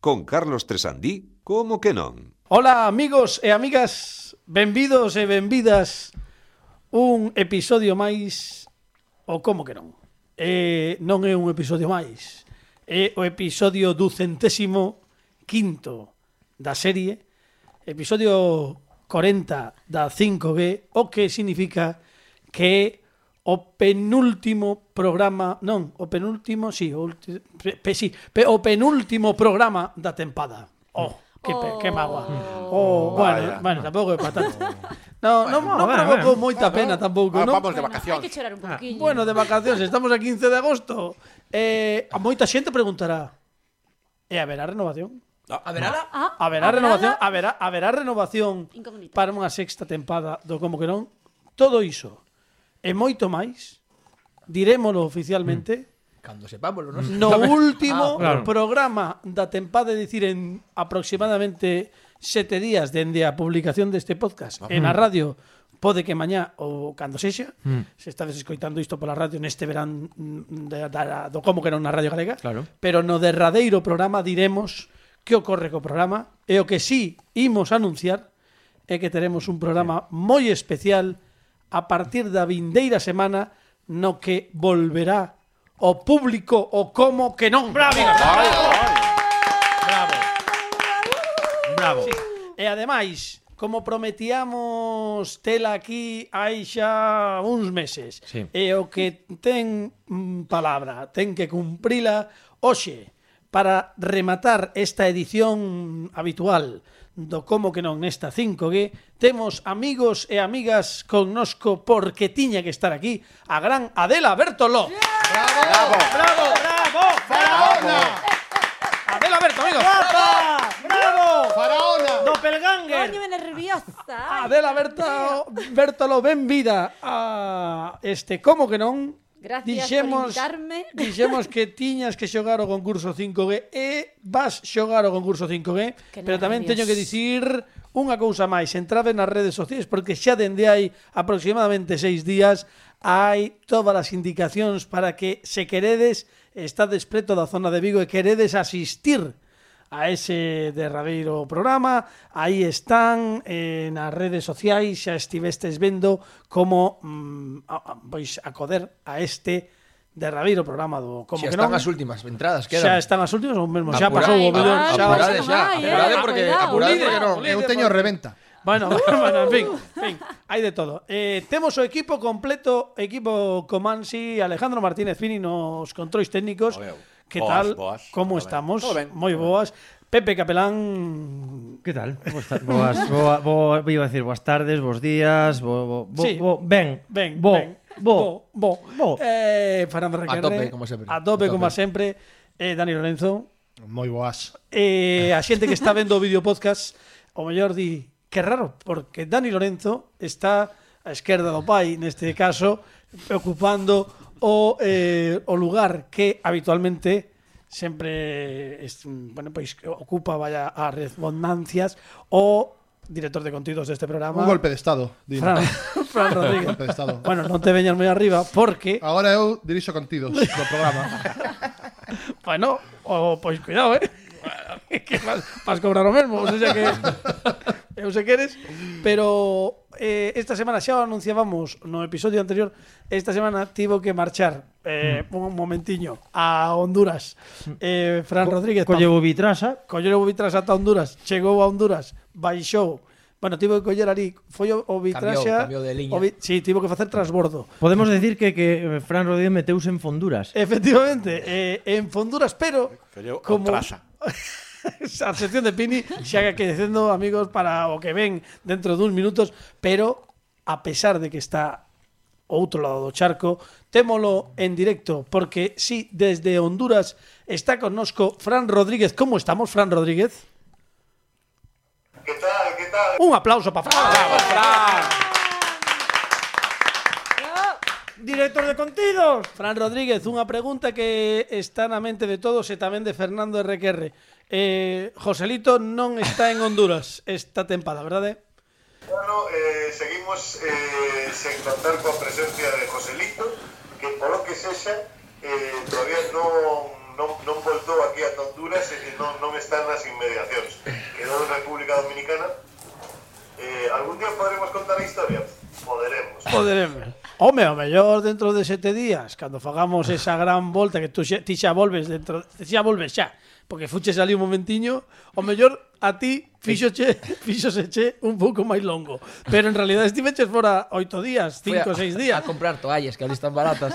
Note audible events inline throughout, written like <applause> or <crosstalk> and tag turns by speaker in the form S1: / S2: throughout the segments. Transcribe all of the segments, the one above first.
S1: Con Carlos Tresandí, como que non?
S2: Ola amigos e amigas, benvidos e benvidas un episodio máis o como que non. Eh, non é un episodio máis, é o episodio ducentésimo quinto da serie, episodio 40 da 5G, o que significa que é o penúltimo programa, non, o penúltimo, si, sí, o, ulti- pe, pe, sí, pe, o penúltimo programa da tempada. Oh, que, pe- que mágoa. Oh, bueno, bueno, tampouco é patata.
S3: <laughs>
S2: No, non no, no provocou moita pena
S3: Ah,
S2: tampouco, non?
S3: Vamos de
S4: Hay que
S3: vacaciones.
S4: chorar un
S2: Ah.
S4: poquillo.
S2: Bueno, de vacacións, estamos a 15 de agosto. Eh, a moita xente preguntará. E haberá renovación?
S3: A ver, ahora.
S4: Ah,
S2: Haberá renovación, haberá, haberá renovación
S4: Incógnita.
S2: para unha sexta tempada do Como que non? Todo iso e moito máis dirémolo oficialmente
S3: Cuando sepámoslo, ¿no?
S5: <laughs>
S2: no último
S5: Mm. Ah, claro.
S2: programa da tempada, é dicir, en aproximadamente sete días dende a publicación deste podcast en a radio pode que mañá ou cando sexa
S5: Mm.
S2: se estades escoitando isto pola radio neste verán mm, da, da, do como que non na radio galega
S5: Claro.
S2: pero no derradeiro programa diremos que ocorre co programa e o que sí imos anunciar é que teremos un programa moi especial a partir da vindeira semana no que volverá o público o como que non. Bravo.
S5: Bravo. Bravo.
S2: E ademais, como prometíamos tela aquí hai xa uns meses,
S5: Sí.
S2: e o que ten mm, palabra, ten que cumprila hoxe para rematar esta edición habitual do como que non nesta 5G, temos amigos e amigas connosco porque tiña que estar aquí a gran Adela Bertolo.
S3: ¡Bravo!
S2: Bravo, bravo,
S3: ¡Faraona!
S2: Adela Bertolo, amigos. Bravo,
S3: ¡Faraona!
S2: Doppelganger.
S4: Coño, me nerviosa.
S2: Adela Berta, Bertolo, ben vida a este como que non?
S4: Gracias por invitarme.
S2: Dixemos que tiñas que xogar o concurso 5G e vas xogar o concurso 5G,
S4: Que
S2: pero tamén
S4: nervios.
S2: teño que dicir unha cousa máis, entrade nas redes sociais porque xa dende hai aproximadamente seis días hai todas as indicacións para que se queredes estades preto da zona de Vigo e queredes asistir a ese derradeiro programa. Aí están eh, nas redes sociais, xa estivestes vendo como mm, a, a, pois acoder a este derradeiro programa do como
S3: Si
S2: que
S3: están
S2: non.
S3: las últimas entradas, quedan.
S2: Xa están as últimas ou mesmo xa
S3: Apurade,
S2: pasou o verón, xa
S4: Ai, apurade.
S3: Apurades ya.
S4: Ai, eh,
S3: Apurades porque,
S4: cuidado,
S3: apurades porque
S2: cuidado.
S3: no. Eu teño reventa.
S2: Bueno, <laughs> bueno, en fin,
S4: Uh.
S2: en fin, hai de todo. Eh, temos o equipo completo, equipo Comansi, Alejandro Martínez Fini nos controis técnicos.
S6: Oleu.
S2: Que
S6: Boas,
S2: tal?
S6: boas.
S2: Como
S6: Todo ben.
S2: estamos?
S6: Todo ben.
S2: Moi boas. Pepe Capelán
S5: Que tal? Boas, ta- boas, boa, boa, iba a decir boas tardes, bos días, bo, bo, bo,
S2: Sí.
S5: bo ben,
S2: Ben,
S5: bo,
S2: ben.
S5: bo,
S2: bo,
S5: bo.
S2: Eh, Fernando Requerre.
S3: tope, como sempre. A
S2: A tope,
S3: tope.
S2: como sempre. Eh, Dani Lorenzo.
S3: Muy boas.
S2: Eh, a xente que está vendo o vídeo podcast, o mellor di, que raro, porque Dani Lorenzo está á esquerda do pai, neste caso, ocupando o, eh, o lugar que habitualmente sempre es, bueno, pois, ocupa vaya a redundancias o director de contidos deste programa.
S7: Un golpe de estado. Dino.
S2: Fran,
S7: <laughs>
S2: Fran
S7: Un
S2: Rodríguez.
S7: golpe de estado.
S2: Bueno, non te veñas moi arriba porque,
S7: Agora eu dirixo contidos do
S2: <laughs>
S7: programa.
S2: bueno, Pues o, pois cuidado, eh. <laughs> que vas, vas cobrar o mesmo, ou seja que eu sei que eres, pero eh, esta semana xa o anunciábamos no episodio anterior, esta semana tivo que marchar eh, un momentiño a Honduras. Eh, Fran Rodríguez pa-
S5: Colleu o vitrasa,
S2: colleu o vitras ata Honduras, chegou a Honduras, baixou. Bueno, tivo que coller ali, foi o, o vitras xa-
S3: cambiou de liña.
S2: o vi- sí, tivo que facer transbordo.
S5: podemos decir que, que Fran Rodríguez meteuse en fonduras.
S2: Efectivamente, eh, en Honduras, pero
S6: Colleu o
S2: como
S6: traza.
S2: a sección de Pini xa que dicendo amigos para o que ven dentro duns minutos, pero a pesar de que está o outro lado do charco, témolo en directo, porque sí, desde Honduras está connosco Fran Rodríguez. Como estamos, Fran Rodríguez?
S8: ¿Qué tal? ¿Qué tal?
S2: Un aplauso para Fran. Director de contidos. Fran Rodríguez, unha pregunta que está na mente de todos e tamén de Fernando RQR. Eh, Joselito non está en Honduras esta tempada, verdade?
S8: Bueno, eh, seguimos eh, sen contar coa presencia de Joselito, que polo que sexa, eh, todavía non non, non voltou aquí a Honduras e e non, non está nas inmediacións. Quedou en República Dominicana. Eh, algún día podremos contar a historia? Poderemos.
S2: Podereme. Home, o mellor dentro de sete días, cando fagamos esa gran volta que tú xa, ti xa volves dentro, ti xa volves xa, porque fuches ali un momentiño, o mellor a ti fixoche, fixoseche un pouco máis longo. Pero en realidad estiveches fora oito días,
S6: Fui a-
S2: cinco, seis días.
S6: A comprar toallas, que ali están
S2: <laughs>
S6: baratas.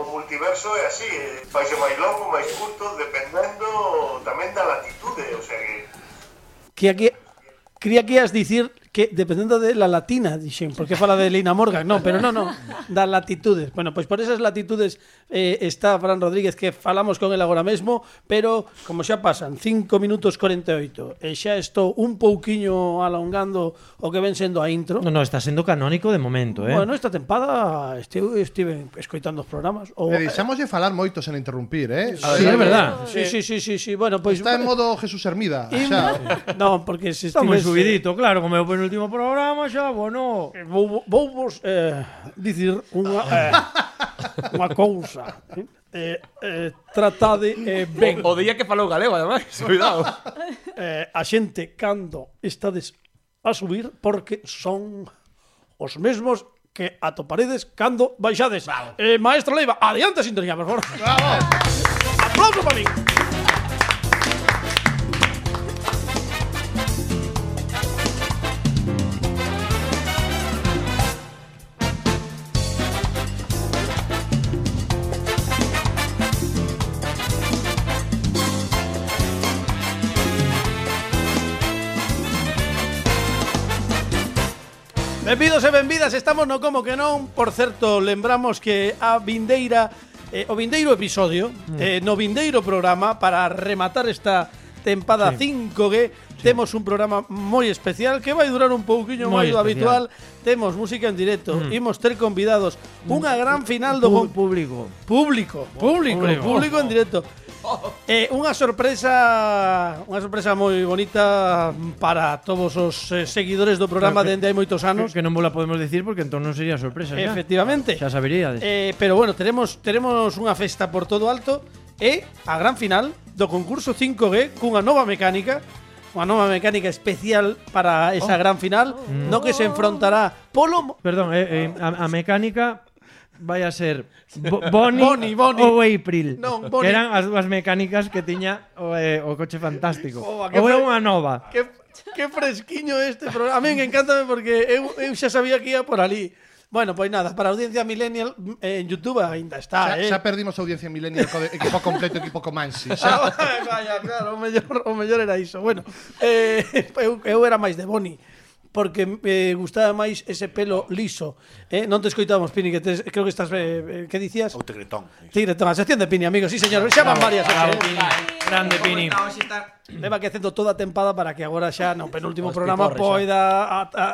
S8: O multiverso é así, eh, faise máis longo, máis curto, dependendo tamén da latitude, eh, o sea que
S2: Que aquí Cría que ias dicir que dependendo de la latina, dixen, porque fala de Lina Morgan, non, pero non, non, das latitudes. Bueno, pois por esas latitudes eh, está Fran Rodríguez que falamos con el agora mesmo, pero como xa pasan 5 minutos 48 e xa estou un pouquiño alongando o que ven sendo a intro.
S5: No, no, está sendo canónico de momento, eh.
S2: Bueno, esta tempada estive, estive escoitando os programas ou
S7: Le deixamos de falar moito sen interrumpir, eh?
S2: Sí, é
S7: Xa-
S2: Ah, verdad. Sí, sí, sí, sí, sí. Bueno, pois
S7: Está en modo Jesús Hermida. Xa,
S2: Non, porque se
S5: Está moi
S2: estivese-
S5: subidito, claro, como é o penúltimo programa xa, bueno.
S2: Eh, vou, vou vos eh, dicir unha,
S5: <laughs>
S2: eh, unha cousa. eh. Eh, eh, tratade eh, ben.
S5: Oh,
S6: O día que falou galego, ademais.
S2: <laughs>
S6: Cuidado.
S2: Eh, a xente cando estades a subir porque son os mesmos que atoparedes cando baixades. Eh, Maestro Leiva, adiante sintonía, por favor. <laughs> Bravo. Aplauso para min. Benvidos e benvidas, estamos no como que non Por certo, lembramos que a Vindeira eh, O Vindeiro episodio
S5: Mm.
S2: eh, No Vindeiro programa Para rematar esta tempada 5G Temos un programa moi especial Que vai durar un pouquiño
S5: Moi
S2: máis do habitual
S5: especial. Mm.
S2: Temos música en directo Imos ter convidados Unha gran final do
S5: Pú-
S2: con-
S5: público.
S2: Público, público,
S5: Público.
S2: público en directo. Eh, unha sorpresa, unha sorpresa moi bonita para todos os eh, seguidores do programa
S5: Claro que-
S2: dende hai moitos anos.
S5: Que non vos la podemos decir porque entón non sería sorpresa, xa.
S2: Efectivamente.
S5: Xa saberíades.
S2: Eh, pero bueno, teremos teremos unha festa por todo alto e a gran final do concurso 5G cunha nova mecánica, unha nova mecánica especial para esa gran final, no que se enfrontará Ah, Polo Mo-
S5: Perdón, eh, eh, a, a mecánica vai a ser
S2: <laughs>
S5: Bo- Bonnie,
S2: Bonnie, Bonnie.
S5: ou April.
S2: Non,
S5: que
S2: Bonnie.
S5: eran as dúas mecánicas que tiña o, eh, o coche fantástico.
S2: Oh, a que
S5: ou é
S2: fre-
S5: unha
S2: Oh.
S5: nova.
S2: Que, que fresquiño este programa. A mí me encanta porque eu, eu xa sabía que ia por ali. Bueno, pois nada, para a audiencia millennial mm, eh, en YouTube aínda está, eh.
S7: xa perdimos a audiencia milenial co de equipo completo, equipo comansi. Xa,
S2: Ah, <laughs> vaya, claro, o mellor, o mellor era iso. Bueno, eh, <laughs> eu, eu era máis de Boni porque me eh, gustaba máis ese pelo liso. Eh, non te escoitamos, Pini, que tes, creo que estás... Eh, eh, que dicías? O tigretón. Tigretón, a sección de Pini, amigos. Sí, señor, xa van varias.
S5: Bravo,
S2: eh.
S5: Pini. Grande Pini.
S2: Leva que facendo toda a tempada para que agora xa no penúltimo
S6: Os
S2: programa
S6: piporres,
S2: poida a, a,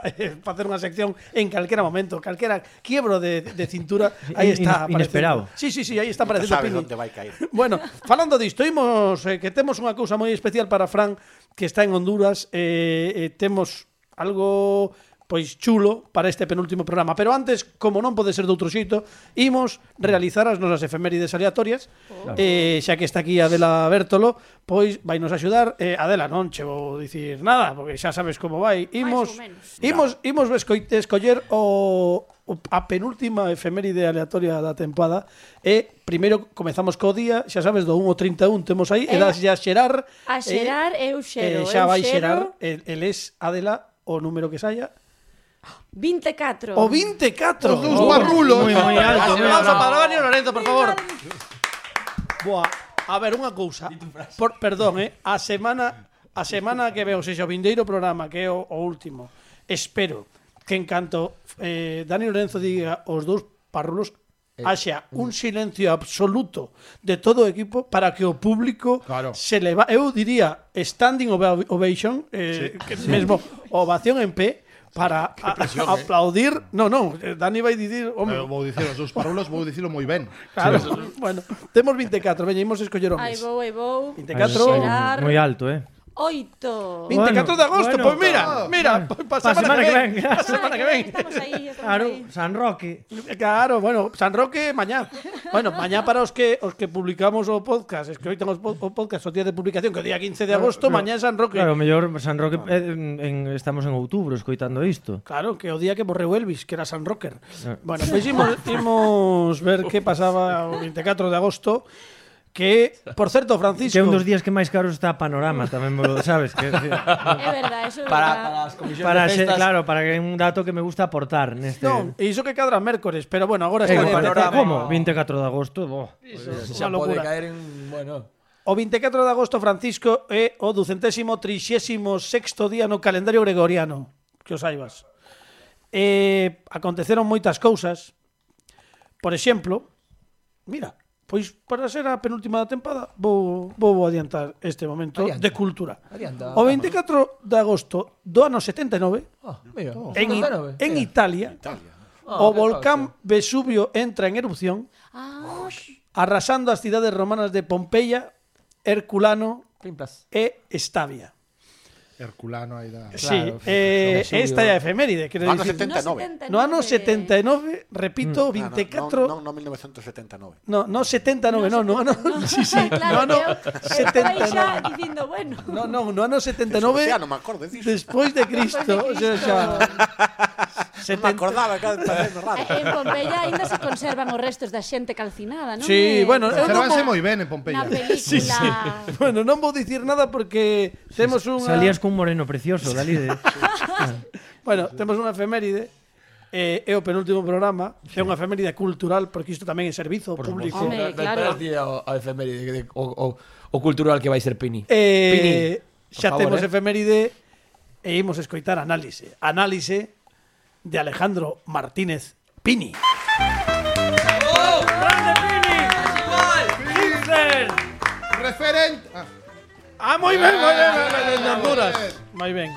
S2: facer unha sección en calquera momento, calquera quiebro de, de cintura,
S5: <laughs>
S2: aí
S5: In-
S2: está
S5: in- inesperado.
S2: aparecendo. Sí, sí, sí, aí está aparecendo
S9: sabes
S2: Pini.
S9: onde vai caer.
S2: <laughs> Bueno, falando disto, imos eh, que temos unha cousa moi especial para Fran que está en Honduras, eh, eh, temos algo pois chulo para este penúltimo programa. Pero antes, como non pode ser de outro xeito, imos realizar as nosas efemérides aleatorias. Oh. Eh, xa que está aquí Adela Bertolo, pois vai nos axudar. Eh, Adela, non che vou dicir nada, porque xa sabes como vai. Imos,
S4: ou menos.
S2: imos, imos escoi- escoller o, o a penúltima efeméride aleatoria da tempada. E primeiro comezamos co día, xa sabes, do 1 ao 31 temos aí, e
S4: Eh,
S2: das a xerar.
S4: A xerar, eu
S2: eh,
S4: xero,
S2: xa
S4: eu
S2: vai
S4: xero.
S2: xerar, el, el es Adela o número que saia.
S4: 24.
S2: O 24.
S7: Os dous barrulos.
S5: Moi, moi alto,
S2: Oh. Un
S5: moi
S2: aplauso
S5: alto.
S2: para Dani Lorenzo, por favor. Boa. A ver, unha cousa. Por, perdón, eh. A semana a semana que veo, sexa o vindeiro programa, que é o, o último, espero que en canto eh, Dani Lorenzo diga os dous parrulos, haxa un silencio absoluto de todo o equipo para que o público
S7: Claro.
S2: se leva, eu diría standing ova- ovation, eh, que mesmo ovación en pé para a- aplaudir. No, no, eh, Dani vai dicir, home,
S7: Eu vou dicir os dous parulos, vou dicilo moi ben.
S2: Claro, bueno, temos 24, veña, imos escoller
S4: Aí
S2: homes.
S4: vou, aí vou.
S2: 24.
S5: Moi alto, eh.
S4: Oito.
S2: 24 de agosto,
S5: bueno,
S2: pois mira, mira, pois pa semana, que ven.
S5: venga.
S2: Pa semana que ven.
S4: Estamos ahí, estamos
S5: Claro,
S4: ahí.
S5: San Roque.
S2: Claro, bueno, San Roque mañá. Bueno, mañá para os que os que publicamos o podcast, es que hoy tenemos o podcast o día de publicación, que é o día 15 de agosto, mañá é San Roque.
S5: Claro,
S2: Claro,
S5: mellor San Roque eh, en, en- estamos en outubro escoitando isto.
S2: que é o día que vos revuelvis, que era San Rocker.
S5: Eh.
S2: Bueno, pois imos, imos ver que pasaba o 24 de agosto, que, por certo, Francisco...
S5: Que é un dos días que máis caro está Panorama, tamén vos lo sabes,
S2: <laughs>
S5: que
S4: É verdade, eso é
S6: Para,
S4: verdade.
S6: para as comisións
S5: para
S6: de
S5: xe,
S6: festas...
S5: claro, para que é un dato que me gusta aportar neste.
S2: Non, e iso que cadra mércores, pero bueno, agora
S5: Eh,
S2: está...
S6: o
S2: bien.
S6: panorama.
S5: como? 24 de agosto, bo.
S6: Xa
S2: Unha
S6: pode
S2: locura.
S6: caer en... Bueno...
S2: O 24 de agosto, Francisco, é o 236º día no calendario gregoriano, que os saibas. Eh, aconteceron moitas cousas. Por exemplo, mira, pois para ser a penúltima da tempada vou, vou adiantar este momento
S6: Adianta.
S2: de cultura.
S6: Adianta.
S2: O 24 de agosto do ano 79,
S6: Oh, mira.
S2: en, I-
S6: 79,
S2: en
S6: mira.
S2: Italia,
S6: Ah,
S2: o
S6: qué
S2: volcán Vesubio entra en erupción
S4: Ah,
S2: arrasando as cidades romanas de Pompeya, Herculano
S6: Pimplas.
S2: e Estavia.
S7: Herculano aí da...
S2: sí, eh,
S6: Vesubio.
S2: esta é a efeméride, quero
S9: Ano
S2: dicir.
S9: 79.
S2: No ano 79, repito,
S9: Ah,
S2: 24...
S9: no, No, no, no, 1979.
S2: No, no 79, no, no, no, <laughs> sí, sí,
S4: claro,
S2: no,
S4: eu-
S2: no,
S4: eu estaba aí xa
S2: 79,
S4: dicindo, bueno.
S2: no, no, no, ano
S9: Hostia,
S2: 79,
S9: no me acuerdo disso.
S2: despois de Cristo, o sea, xa,
S9: Non
S2: 70,
S9: me acordaba, claro, está vendo raro.
S4: E- En Pompeya aínda se conservan os restos da xente calcinada, non?
S2: Sí,
S4: Eh,
S2: bueno, eu
S7: Conservanse
S4: como
S7: moi ben en
S4: Na
S7: Pompeya.
S4: película.
S2: Sí, sí. <laughs> bueno, non vou dicir nada porque temos unha...
S5: Salías cun moreno precioso,
S2: <laughs>
S5: dali de...
S2: Bueno, temos unha efeméride eh, é o penúltimo programa, é unha efeméride cultural porque isto tamén é servizo Por público.
S4: Home,
S6: Hombre,
S4: claro.
S6: claro. a, a efeméride, de- o, o, o cultural que vai ser
S2: Eh,
S6: Pini. Pini, por
S2: xa
S6: favor,
S2: temos
S6: eh.
S2: efeméride e imos escoitar análise. Análise de Alejandro Martínez Pini.
S7: Referente... Ah,
S2: Ah, moi ben, moi ben, moi ben, de Honduras. Moi ben.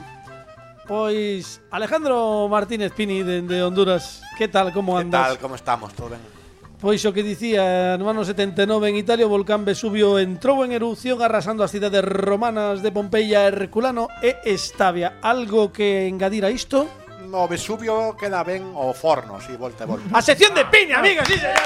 S2: Pois Alejandro Martínez Pini de, de Honduras, que tal, como
S9: ¿Qué tal?
S2: andas?
S9: ¿Cómo estamos? ¿Todo bien?
S2: Pois o que dicía no ano 79 en Italia o volcán Vesubio entrou en erupción arrasando as cidades romanas de Pompeya, Herculano e Estavia. Algo que engadir a isto?
S9: No, Vesubio queda ben o forno, si, volta e volta.
S2: A sección de piña, amigas, sí, señor.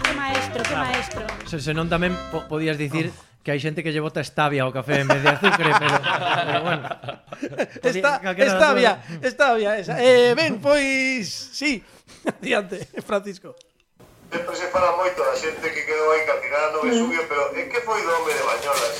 S4: Que maestro, que maestro.
S5: Se, senón tamén po podías dicir que hai xente que lle bota estabia ao café en vez de azúcar, pero, pero bueno.
S2: <laughs> Está,
S5: Calquera das
S2: está bien,
S5: dúas.
S2: está bien esa. Eh, ben, pois, sí. <laughs> Adiante, Francisco. <laughs>
S8: Sempre se fala moito da xente que quedou aí calcinada no Vesubio, pero en que foi do home de Bañolas?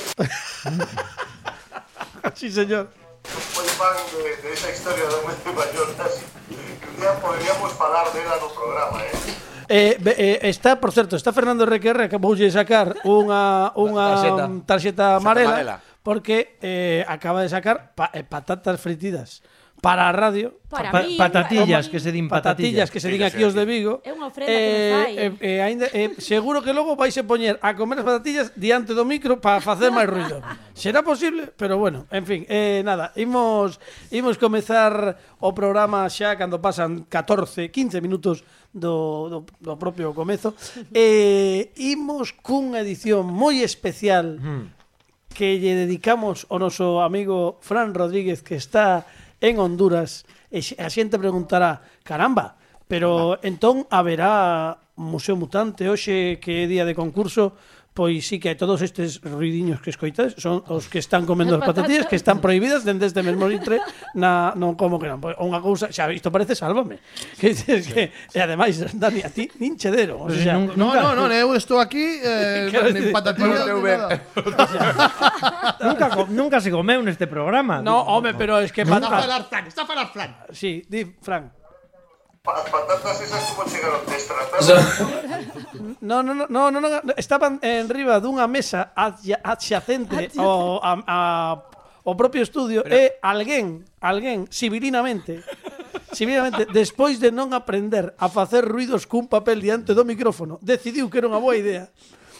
S2: Sí, señor.
S8: Foi fan de, de esa historia do home de Bañolas. Que un día poderíamos falar dela no programa, eh?
S2: Eh, be- eh, está, por certo, está Fernando Requerra que voulle sacar unha unha
S6: Tarxeta.
S2: mm, tarxeta amarela,
S9: amarela.
S2: porque eh, acaba de sacar pa- eh, patatas fritidas para a radio.
S4: Para
S5: Pa-
S4: min,
S5: patatillas,
S4: para-
S5: que se din
S2: Patatillas
S5: patatillas.
S2: que se
S9: Sí,
S2: din
S9: que
S2: aquí
S9: se
S2: os de
S9: di.
S2: Vigo.
S4: É unha ofrenda que nos fai.
S2: eh, eh, aínda- eh, seguro que logo vais a poñer a comer as patatillas diante do micro para facer máis
S4: <laughs>
S2: ruido. Será posible, pero bueno, en fin, eh, nada, imos imos comezar o programa xa cando pasan 14, 15 minutos do, do, do propio comezo.
S4: <laughs>
S2: Eh, imos cunha edición moi especial
S4: Hmm.
S2: que lle dedicamos ao noso amigo Fran Rodríguez que está en Honduras e xe- a xente preguntará, caramba, pero entón haberá Museo Mutante hoxe que é día de concurso Pois sí que hai todos estes ruidiños que escoitades son os que están comendo as patatillas que están prohibidas dende este mesmo litre na non como que non. Pois Unha cousa, xa isto parece sálvame. <laughs> Que dices que e ademais <laughs> Dani a ti nin che deron, o
S5: Pero si
S2: sea,
S5: nun-
S7: No,
S5: nunca-
S7: no, no, eu estou aquí
S2: <laughs>
S7: eh,
S2: Quero
S7: en
S2: dicir-
S7: patatillas.
S6: Eu
S7: ni
S6: ver.
S7: nada.
S5: Nunca, co- nunca se comeu neste programa.
S2: no, home, pero es que
S7: Está a
S2: patatas.
S7: falar Fran, está a falar Fran.
S2: Sí, di Fran.
S8: As patatas esas como chegaron destratadas.
S2: No, no, no, no, no, no, no, estaban enriba dunha mesa adxa- adxacente ao a, a, o propio estudio e alguén, alguén civilinamente, civilinamente despois de non aprender a facer ruidos cun papel diante do micrófono, decidiu que era unha boa idea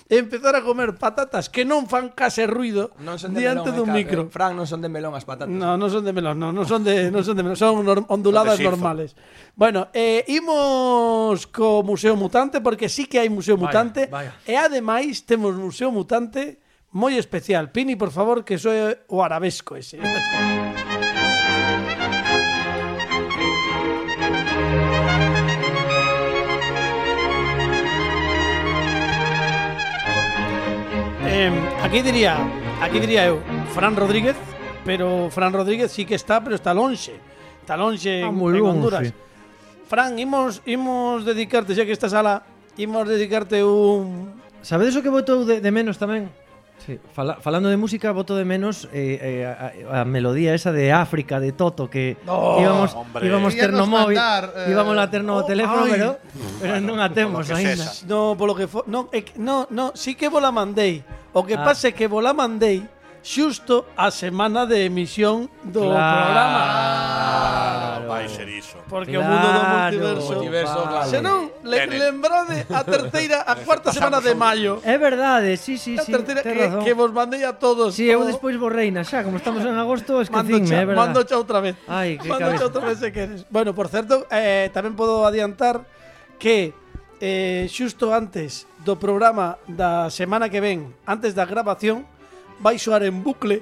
S2: empezar a comer patatas que non fan case ruido
S6: Non son de
S2: diante dun
S6: melón, eh,
S2: micro.
S6: Carmen. Fran, non son de melón as patatas.
S2: No, non son de melón, no, non son de, non son de melón, son nor- onduladas
S9: Son de xirzo.
S2: normales. Bueno, eh, imos co Museo Mutante porque sí que hai Museo
S5: Vaya,
S2: Mutante
S5: vaya.
S2: e ademais temos Museo Mutante moi especial. Pini, por favor, que soe o arabesco ese. Eh, aquí diría, aquí diría eu, Fran Rodríguez, pero Fran Rodríguez sí que está, pero está lonxe. Está lonxe
S5: Ah,
S2: en,
S5: moi
S2: en
S5: lonxe.
S2: Honduras. Fran, imos, imos dedicarte, xa que estás ala, imos dedicarte un...
S5: Sabedes o que votou de, de menos tamén? Sí, fala, falando de música, voto de menos eh, eh, a, a melodía esa de África, de Toto, que
S2: No,
S5: íbamos,
S9: hombre.
S5: íbamos
S3: Queríanos
S5: terno móvil,
S3: mandar, eh,
S5: íbamos a terno
S2: oh,
S5: o teléfono,
S2: ai.
S5: pero, pero non a temos
S9: que
S5: aínda.
S9: sexa.
S2: No, polo que fo... No, é que- no, no, sí que vola mandei. O que
S5: Ah.
S2: pasa é que vola mandei xusto a semana de emisión do
S5: Claro.
S2: programa.
S9: Claro. Vai ser iso.
S2: Porque o mundo do
S5: Claro,
S2: multiverso...
S6: multiverso, claro.
S2: Se non, le,
S9: N.
S2: lembrade a terceira, a cuarta semana de maio.
S5: É verdade, sí, sí,
S2: A
S5: sí,
S2: terceira
S5: tes
S2: que,
S5: razón.
S2: que vos mandei a todos.
S5: Si, eu
S2: o-
S5: despois borreina xa, como estamos en agosto, esquecinme,
S2: Mandocha,
S5: é verdade.
S2: mandocha outra vez.
S5: Ai, que
S2: Mandocha
S5: cabeza.
S2: outra vez se queres. Bueno, por certo, eh, tamén podo adiantar que eh, xusto antes do programa da semana que ven, antes da grabación, vai soar en bucle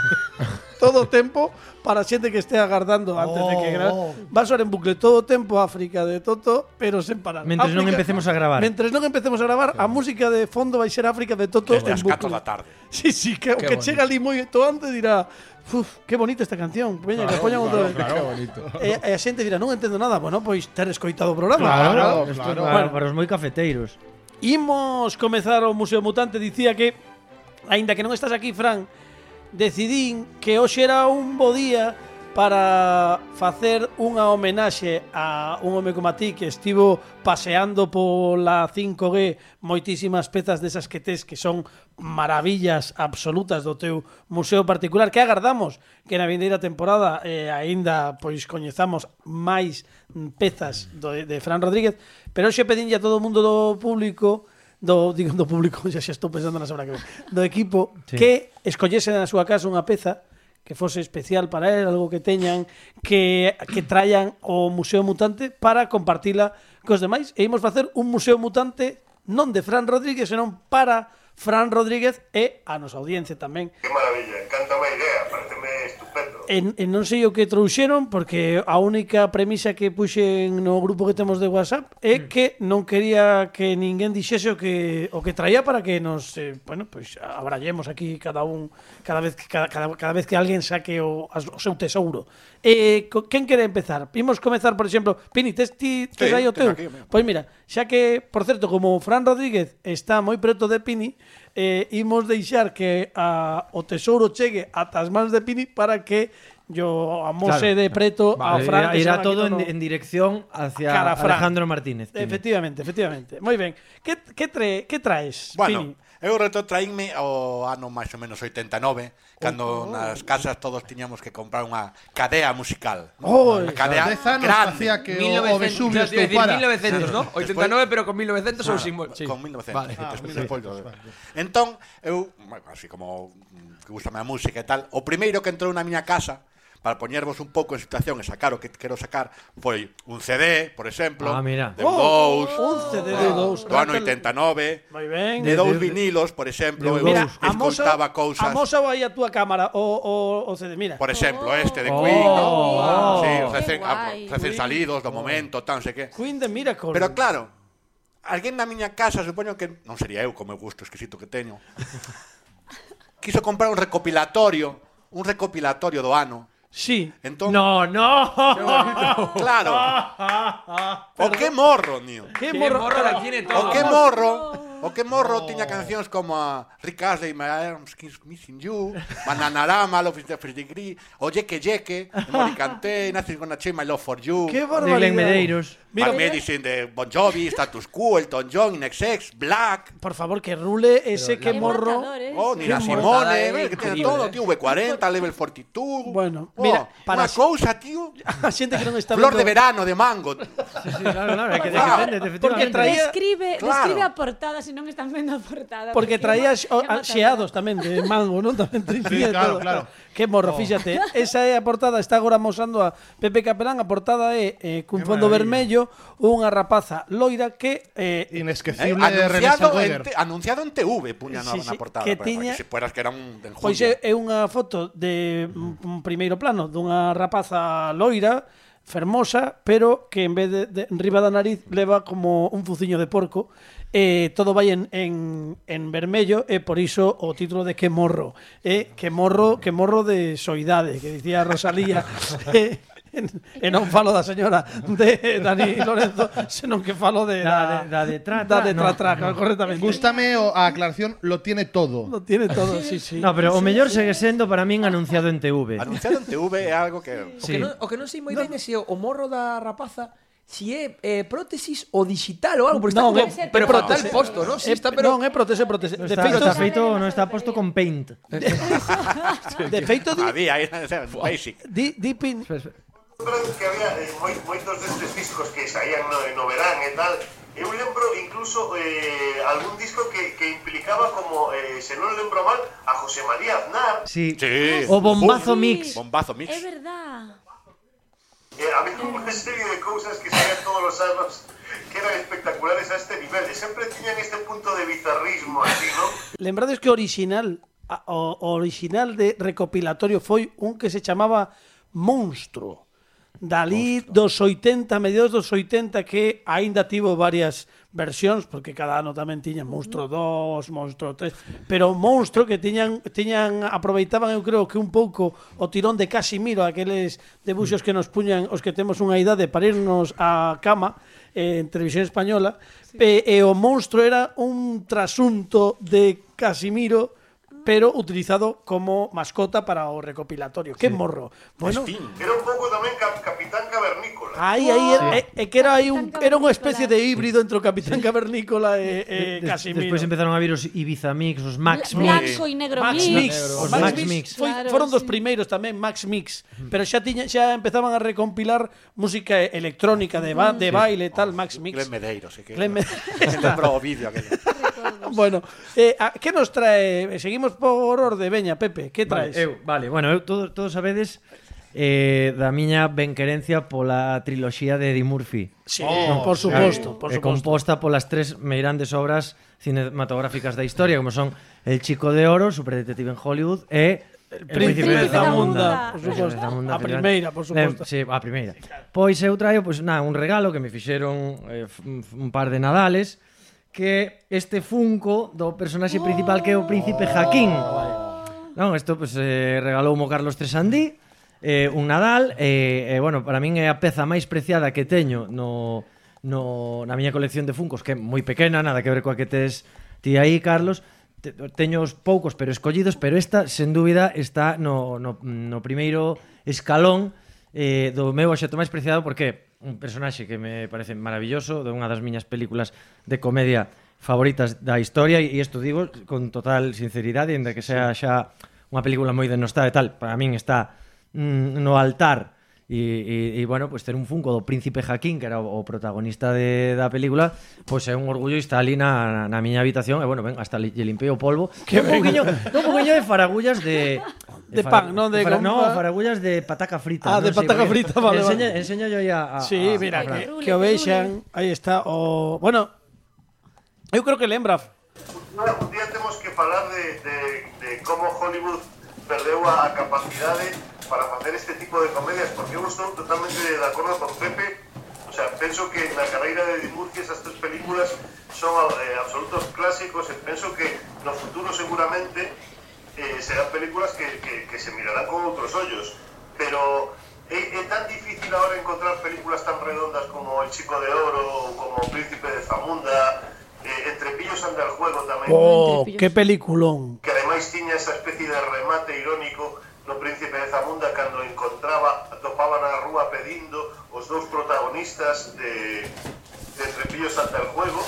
S2: <laughs> todo o tempo para a xente que estea agardando antes de
S5: Oh.
S2: que grabe. Va a soar en bucle todo o tempo África de Toto, pero sen parar.
S5: Mentres non
S2: África-
S5: empecemos a gravar.
S2: Mentres non empecemos a gravar, a música de fondo vai ser África de Toto en
S9: Desde as 4
S2: bucle.
S9: da tarde.
S2: Sí, sí, que, que chega ali moi toante dirá Uf, que bonita esta canción. Veña, que a poñan outra vez. <laughs>
S7: bonito.
S2: E, e a xente dirá, non entendo nada. Bueno, pois ter escoitado o programa.
S7: Claro,
S5: Isto,
S7: claro.
S5: claro, para os moi cafeteiros.
S2: Imos comezar o Museo Mutante. Dicía que, aínda que non estás aquí, Fran, decidín que hoxe era un bo día para facer unha homenaxe a un home como a ti que estivo paseando pola 5G moitísimas pezas desas que tes que son maravillas absolutas do teu museo particular que agardamos que na vindeira temporada eh, aínda pois coñezamos máis mm, pezas do, de Fran Rodríguez pero hoxe pedinlle a todo o mundo do público do, digo, do público, <laughs> xa, xa estou pensando na semana que ven, do equipo,
S5: Sí.
S2: que escollese na súa casa unha peza que fose especial para él, algo que teñan, que, que traian o Museo Mutante para compartila cos demais. E imos facer un Museo Mutante non de Fran Rodríguez, senón para Fran Rodríguez e a nosa audiencia tamén.
S8: Qué maravilla, encanta a idea, pareceme estupendo.
S2: En, en non sei o que trouxeron porque a única premisa que puxen no grupo que temos de WhatsApp é que non quería que ninguén dixese o que o que traía para que nos, eh, bueno, pois abrallemos aquí cada un cada vez que cada, cada, cada vez que alguén saque o, as- o seu tesouro. Eh, co, quen quere empezar? Imos comezar, por exemplo, Pini, tes ti tes
S9: Sí,
S2: aí o teu?
S9: teño aquí o meu.
S2: Pois mira, xa que, por certo, como Fran Rodríguez está moi preto de Pini, eh, imos deixar que a, o tesouro chegue ata as mans de Pini para que yo amose
S5: Claro.
S2: de preto a
S5: Vale,
S2: Fran.
S5: irá,
S2: que
S5: irá
S2: son aquí
S5: todo en,
S2: no-
S5: en dirección hacia
S2: Cara a Fran.
S5: Alejandro Martínez. Pini.
S2: Efectivamente, efectivamente. Moi ben. Que, que, tre, que traes, Pini?
S9: Bueno, eu reto traínme ao ano máis ou menos 89,
S7: Oh,
S9: cando nas casas todos tiñamos que comprar unha cadea musical.
S2: Oi,
S9: Unha cadea
S7: Dez anos
S9: grande.
S7: facía que o- o
S6: 1900,
S7: Vesubio
S6: te iba a decir,
S7: estoupara.
S6: 1900, ¿no? 89, pero con 1900 ou
S2: <laughs>
S6: sin... mo- sí.
S9: Ah, Con 1900.
S6: Vale.
S9: Ah, despois do- Entón, eu, bueno, así como mm, que gustame a música e tal, o primeiro que entrou na miña casa para poñervos un pouco en situación e sacar o que quero sacar foi un CD, por exemplo,
S5: Ah, mira.
S9: de Dous,
S2: 11 de D2.
S9: do ano 89,
S2: Moi ben.
S9: de dous
S5: de-
S9: vinilos, por exemplo,
S5: de
S9: eu
S2: Mira, amosa,
S9: escoitaba cousas,
S2: amosa aí a túa cámara o, o, o CD. Mira,
S9: por exemplo, este de
S5: Oh.
S9: Queen,
S5: Oh.
S9: ¿no? sí,
S4: Qué
S9: recén, ah,
S4: guai.
S9: recén salidos do momento, tal, non sei que.
S2: Queen de Miracle.
S9: Pero claro, alguén na miña casa, supoño que non sería eu como o gusto exquisito que teño. quiso comprar un recopilatorio, un recopilatorio do ano.
S2: Sí.
S9: Entón,
S5: No, no.
S9: claro.
S2: Ah.
S9: o que morro, nío.
S2: Que
S6: Que
S2: morro.
S6: morro la tiene
S9: O
S6: todo.
S9: que morro, o que morro tiña cancións como a Rick Astley, My Arms Kiss Missing You, Bananarama, Love is the Free
S2: <laughs>
S9: Degree, o Yeque Yeque, de Morricante, Nothing's Gonna Change My Love for You.
S2: Que
S5: De Glenn
S2: barbaridade.
S5: Medeiros.
S2: Mira,
S9: Mad Medicine de Bon Jovi, Status Quo, Elton John, Inex Black,
S2: Por favor, que rule ese que
S4: Qué
S2: morro.
S4: matador, ¿eh?
S9: oh, Nina
S2: Qué
S6: mortada,
S9: Simone,
S6: eh,
S9: eh, que tiene
S6: increíble,
S9: todo,
S6: eh.
S9: tío, V40, Level Fortitude.
S2: Bueno,
S9: Oh,
S2: mira, para-
S9: Una cosa, tío.
S2: <laughs> A xente que non está
S9: Flor de
S2: vendo-
S9: verano, de mango.
S5: Sí, sí, claro, claro, é que, é que depende,
S9: Claro,
S2: Ah, porque
S5: efectivamente.
S2: traía-
S4: Describe,
S9: Claro.
S4: describe a portada se non están vendo a portada.
S2: Porque traía
S4: qué
S2: xo- a-
S4: ma- qué
S2: xeados tamén de mango, non?
S7: <laughs>
S2: Tamén sí,
S7: claro, claro. Oh.
S2: Que morro, fíxate. Esa é a portada, está agora mosando a Pepe Capelán, a portada é eh, cun fondo vermello unha rapaza loira que eh,
S9: Eh,
S7: Inesquecible de Renée
S9: anunciado, en,
S7: Zellweger.
S9: te- anunciado en TV, puña
S2: Sí,
S9: na, na
S2: sí,
S9: portada.
S2: que
S9: Que tiña...
S2: tiña-
S9: Que se fueras que era un de
S2: pois é, é unha foto de un un primeiro plano dunha rapaza loira fermosa, pero que en vez de, de riba da nariz leva como un fuciño de porco eh, todo vai en, en, en vermello e por iso o título de que morro eh, que morro que morro de soidade que dicía Rosalía <laughs> eh, e non falo da señora de Dani
S9: <laughs>
S2: Lorenzo <laughs> senón que falo de
S5: Da de- da de tra-
S2: da de
S5: no,
S2: tra, tra,
S5: no.
S2: correctamente
S7: Gústame o- a aclaración, lo tiene todo.
S2: Lo tiene todo sí, sí.
S5: No, pero o mellor segue sendo para min anunciado en TV.
S9: Anunciado en TV é algo que...
S5: Sí.
S6: O que non, o que non sei moi ben é se o, o morro da rapaza si é eh, prótesis ou digital ou algo, porque
S2: Non, é-
S6: está como, pero
S2: é
S6: fatal
S2: prótese.
S6: posto, non? Si
S2: É-
S6: está pero
S2: Eh, Non, é protese, protese.
S5: No
S2: De
S5: está,
S2: feito,
S5: no está feito, no está posto con
S2: <laughs>
S5: paint.
S2: de feito di,
S9: Había, era basic.
S2: di, di pin...
S8: Lembro que había eh, moi, moitos destes discos que saían no, no verán e tal Eu lembro incluso eh, algún disco que, que implicaba como, eh, se non lembro mal, a José María Aznar
S5: Sí.
S9: Sí.
S5: O bombazo
S4: Sí.
S5: mix.
S9: Bombazo mix.
S4: É verdad.
S8: Eh, había unha serie de cousas que saían todos os anos que eran espectaculares a este nivel e sempre tiñan este punto de bizarrismo así, non?
S2: Lembrades que o original a- o, o original de recopilatorio foi un que se chamaba Monstruo. Dalí dos 80, mediados dos 80 que aínda tivo varias versións porque cada ano tamén tiñan Monstruo 2, Monstruo 3, pero Monstruo que tiñan tiñan aproveitaban eu creo que un pouco o tirón de Casimiro, aqueles debuxos que nos puñan os que temos unha idade para irnos á cama eh, en televisión española, e, e o Monstruo era un trasunto de Casimiro pero utilizado como mascota para o recopilatorio. ¡Qué morro! Bueno,
S8: Era un pouco tamén cap, Capitán Cavernícola
S2: Aí, aí, era- é, é eh, que era aí un,
S4: Capitán
S2: era unha
S4: Cavernícola. ¿eh?
S2: especie de híbrido entre o Capitán Cavernícola e, e
S5: Des-
S2: Casimiro.
S5: Despois empezaron a vir os Ibiza Mix, os Max
S4: Bla-
S5: Mix.
S4: Blanco e negro
S2: Max
S4: mix.
S2: Mix,
S5: Os
S2: Max
S5: Max
S2: Mix,
S5: Mix.
S2: foi,
S4: Claro,
S2: foron dos
S4: sí.
S2: primeiros tamén Max Mix, pero xa tiña, xa empezaban a recompilar música electrónica de, ba, de baile e
S8: Oh,
S2: tal, Max Mix.
S9: Glenn Medeiros. eh, que-
S2: Glenn Medeiros. <laughs>
S9: Lembro o vídeo aquel.
S2: Bueno, eh, a, que nos trae? Seguimos por orde, veña, Pepe, que
S5: <laughs> Vale,
S2: traes?
S5: eu, vale, bueno, eu todo, todos sabedes eh, da miña benquerencia pola triloxía de Eddie Murphy.
S2: Sí, por suposto, por
S5: eh,
S2: suposto.
S5: composta polas tres meirandes obras cinematográficas da historia, como son El Chico de Oro, Superdetective en Hollywood e El
S2: Príncipe
S4: de Zamunda.
S2: por
S5: Príncipe
S2: suposto.
S5: Zamunda,
S2: A
S5: efectivamente.
S2: primeira, por suposto.
S5: Eh, sí, a primeira. Pois eu traio pois, na, un regalo que me fixeron eh, f- un par de Nadales que este Funko do personaxe principal que é o Príncipe
S2: Oh.
S5: Jaquín. Non, isto pues, eh, regalou mo Carlos Tresandí eh, un Nadal e, eh, eh, bueno, para min é a peza máis preciada que teño no, no, na miña colección de Funkos que é moi pequena, nada que ver coa que tes ti aí, Carlos Te- teño os poucos pero escollidos pero esta, sen dúbida, está no, no, no primeiro escalón eh, do meu obxecto máis preciado porque un personaxe que me parece maravilloso de unha das miñas películas de comedia favoritas da historia e isto digo con total sinceridade ainda que sea xa unha película moi denostada e tal para min está mm, no altar e, e, e bueno, pues ter un funko do príncipe Jaquín que era o, o protagonista de, da película pois pues é un orgullo e está ali na, na miña habitación e bueno, ben, hasta li, lle limpei o polvo que un poquinho, un poquinho de faragullas de
S2: De pan, non de
S5: fara,
S2: gompa.
S5: no, faragullas de pataca frita
S2: Ah,
S5: non
S2: de
S5: sei,
S2: pataca
S5: porque-
S2: frita, vale,
S5: enseña, Ah,
S2: vale.
S5: enseña yo aí a, a
S2: Sí,
S5: a-
S2: mira,
S5: a Fran.
S2: que,
S4: Rule,
S2: que o
S4: que
S2: vexan.
S4: rule.
S2: Aí está o... Bueno, eu creo que lembra.
S8: Nada, Un día temos que falar de, de, de como Hollywood perdeu a capacidade para facer este tipo de comedias, porque eu estou totalmente de acordo con Pepe, o sea, penso que na carreira de Eddie Murphy esas tres películas son eh, absolutos clásicos e penso que no futuro seguramente eh, serán películas que, que, que se mirarán con outros ollos, pero é, é tan difícil ahora encontrar películas tan redondas como El Chico de Oro ou como Príncipe de Zamunda, eh, Entre Pillos anda el juego tamén.
S2: Oh,
S4: Entre
S2: que peliculón.
S8: que ademais tiña esa especie de remate irónico no Príncipe de Zamunda cando encontraba, atopaba na rúa pedindo os dous protagonistas protagonistas de, de Trepillos ata el juego,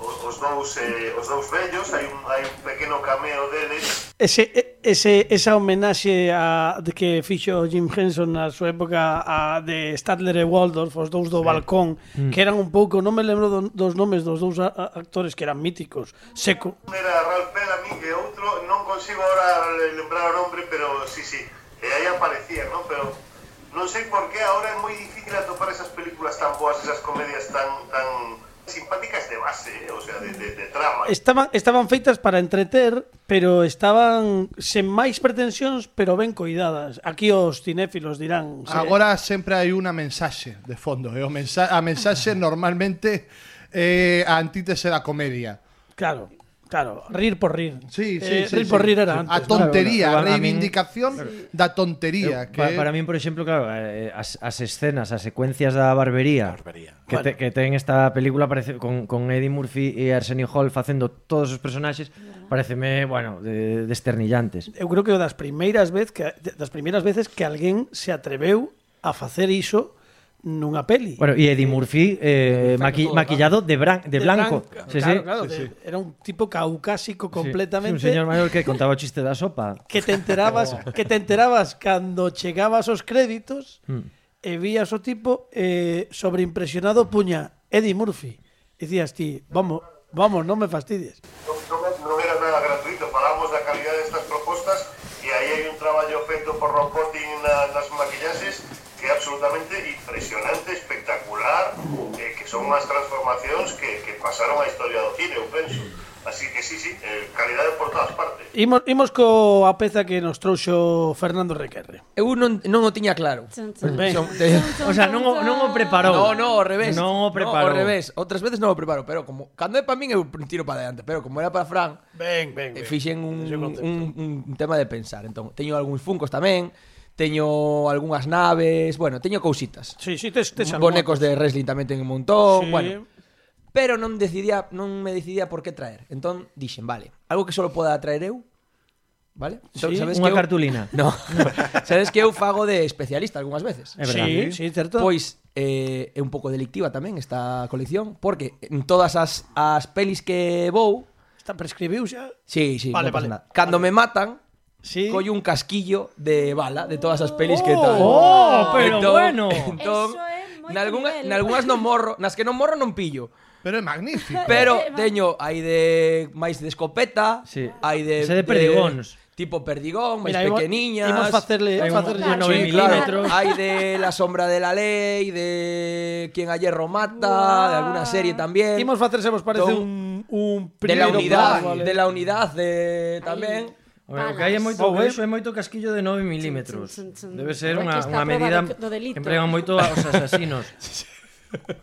S8: os, os dous, eh, os dous vellos, hai un, hai un pequeno cameo deles
S2: Ese, e- ese, esa homenaxe a, de que fixo Jim Henson na súa época a, de Stadler e Waldorf, os dous do balcón,
S5: Mm.
S2: que eran un pouco, non me lembro do, dos nomes dos dous a, a- actores que eran míticos, seco.
S8: Un era Ralph Bellamy e outro, non consigo ahora lembrar o nombre, pero sí, sí, e aí aparecían, non? Pero non sei por que ahora é moi difícil atopar esas películas tan boas, esas comedias tan tan simpáticas de base, eh, o sea, de, de, de trama.
S2: Estaban, estaban feitas para entreter, pero estaban sen máis pretensións, pero ben coidadas. Aquí os cinéfilos dirán... eh". se-
S3: Agora sempre hai unha mensaxe de fondo. E o mensa a
S2: <laughs>
S3: mensaxe normalmente é a antítese da comedia.
S2: Claro, claro, rir por rir.
S3: Sí, sí,
S2: Eh,
S3: sí,
S2: rir
S3: sí.
S2: por rir
S3: A
S2: era antes.
S3: tontería,
S5: Claro,
S3: a
S5: bueno, a mí-
S3: reivindicación da tontería.
S5: Eu,
S3: que...
S5: Eh,
S3: <laughs>
S5: pa- Para min, por exemplo, claro, eh, as, as escenas, as secuencias da barbería,
S9: Barbería.
S5: que, te, que ten esta película parece con, con Eddie Murphy e Arsenio Hall facendo todos os personaxes, pareceme, bueno, de, desternillantes.
S2: eu creo que das primeiras vez que das primeiras veces que alguén se atreveu a facer iso nunha peli.
S5: Bueno, e Eddie Murphy eh, maqui,
S6: todo,
S5: maquillado de, bran, de,
S2: De
S5: blanco.
S2: branca.
S5: Sí,
S2: claro,
S5: sí.
S2: claro, de- era un tipo caucásico completamente.
S5: Sí, un señor maior que contaba o chiste da sopa. Oh.
S2: que te
S5: <laughs>
S2: enterabas, que te enterabas cando chegabas aos créditos
S5: Mm.
S2: e vías o tipo eh, sobreimpresionado puña Eddie Murphy. Dicías ti, vamos, vamos, non me fastidies.
S8: Non, non, non era nada gratuito, falamos da calidad destas propostas e aí hai un traballo feito por Ron Potting na, nas maquillaxes que é absolutamente impresionante, espectacular, eh, que son unhas transformacións que, que pasaron a historia do cine, eu penso. Así que sí, sí, eh, calidade por todas partes.
S2: Imos, imos coa peza que nos trouxo Fernando Requerre.
S6: Eu non, non o tiña claro.
S4: Chun, chun,
S2: Ben.
S4: chun,
S2: <laughs>
S4: chun,
S5: O sea, non o,
S4: chun,
S5: non o
S4: chun.
S5: preparou.
S6: No, no, ao revés.
S5: Non o preparou.
S6: No, ao revés. Outras veces non o preparo, pero como cando é para min eu tiro para adelante, pero como era para Fran,
S2: Ben, ben,
S6: eh, fixen un, un, un tema de pensar. Entón, teño algúns funcos tamén, teño algunhas naves, bueno, teño cousitas.
S2: Sí, sí, tes, tes algún-
S6: Bonecos de wrestling tamén teño un montón,
S2: Sí.
S6: bueno. Pero non decidía, non me decidía por que traer. Entón, dixen, vale, algo que solo poda traer eu, vale? Entón,
S2: Sí,
S5: Unha
S6: eu-
S5: cartulina.
S6: <laughs> No, <laughs> sabes que eu fago de especialista algunhas veces.
S5: É
S2: Sí,
S5: verdade.
S2: sí, certo.
S6: Pois eh, é un pouco delictiva tamén esta colección Porque en todas as, as pelis que vou
S2: Está prescribiu xa.
S6: Sí, sí,
S2: Vale,
S6: non pasa
S2: vale.
S6: nada. Cando me matan
S2: Sí.
S6: Collo un casquillo de bala De todas as pelis que tal
S5: Oh, pero bueno.
S6: <laughs> entón,
S4: Eso é moito
S6: nalgunha,
S4: nivel.
S6: Nalgúnas non morro Nas que non morro non pillo
S3: Pero é magnífico.
S6: <laughs>
S4: <laughs>
S6: Pero
S4: Eh, va.
S6: teño hai de máis de escopeta
S5: Sí.
S6: Hai de,
S5: Ese de perdigóns.
S6: Tipo perdigón, máis
S2: Mira, imos-
S6: pequeniñas
S2: Imos facerle,
S5: Hai un-
S2: facerle
S5: hai un
S2: nove
S5: nove
S2: mil-
S6: claro,
S5: milímetros.
S6: Hay de La Sombra de la Ley, de Quien a Hierro Mata, de alguna serie también.
S2: Imos facer, se vos parece,
S6: Entón,
S2: un, un
S6: de la
S2: primeiro
S6: unidad,
S2: plan, vale.
S6: de la unidad de tamén.
S5: O que hai é moito
S2: Oh,
S5: oh,
S2: eh.
S5: eso é moito casquillo de 9 milímetros.
S4: Chun, chun, chun, chun.
S5: Debe ser
S4: Aquí
S5: unha,
S4: está
S5: unha
S4: a prova
S5: medida
S4: do- do delito.
S5: que empregan moito aos
S2: <laughs>
S5: asasinos.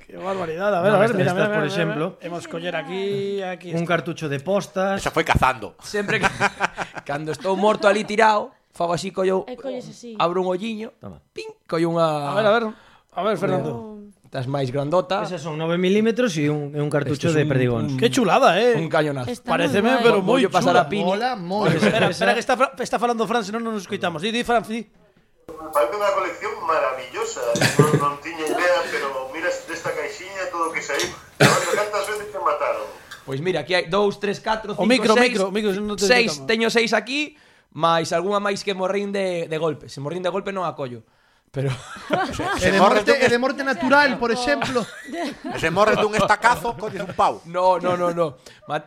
S2: Qué barbaridad. A ver,
S5: No,
S2: a ver,
S5: estas-
S2: mira,
S5: estas,
S2: mira,
S5: por
S2: mira,
S5: exemplo.
S2: mira. Hemos coller aquí, aquí.
S5: Un
S2: está.
S5: cartucho de postas.
S9: Esa foi cazando.
S6: Sempre que <laughs> cando estou morto ali tirado, fago así collo,
S4: E Eh, colles así.
S2: Ah,
S6: abro un olliño,
S5: Toma.
S6: pin, collo unha
S2: A ver, a ver. A ver, Fernando.
S6: das máis grandota.
S5: Esas son 9 milímetros e un, e un cartucho
S6: Esto es
S5: de
S6: un-
S5: perdigóns.
S6: un-
S2: Qué chulada, eh.
S6: Un cañonazo.
S4: Está
S2: Pareceme,
S4: moi guai.
S2: pero moi
S6: Voullo pasar
S2: chula.
S6: a Pini. <laughs>
S3: Mola moito.
S2: Espera, espera, que está, Fra- está falando Fran, senón non nos escoitamos. Di, di, Fran, di.
S8: Parece unha colección maravillosa, <laughs> non, non tiña idea, pero miras desta caixinha todo o que saiu. Levanta cantas veces te mataron.
S6: Pois Pues mira, aquí hai 2, 3, 4,
S2: O
S6: 5,
S2: micro,
S6: 6,
S2: micro, micro, se non te escoitamos.
S6: teño 6 aquí, máis algunha máis que morrín de, de golpe. Se morrín de golpe non a collo.
S2: <laughs>
S6: Pero <laughs>
S2: Ah.
S3: E de morte, e
S2: este-
S3: de morte natural, por exemplo.
S9: E se morres dun estacazo, colles un pau.
S6: no, no, no, no. Ma-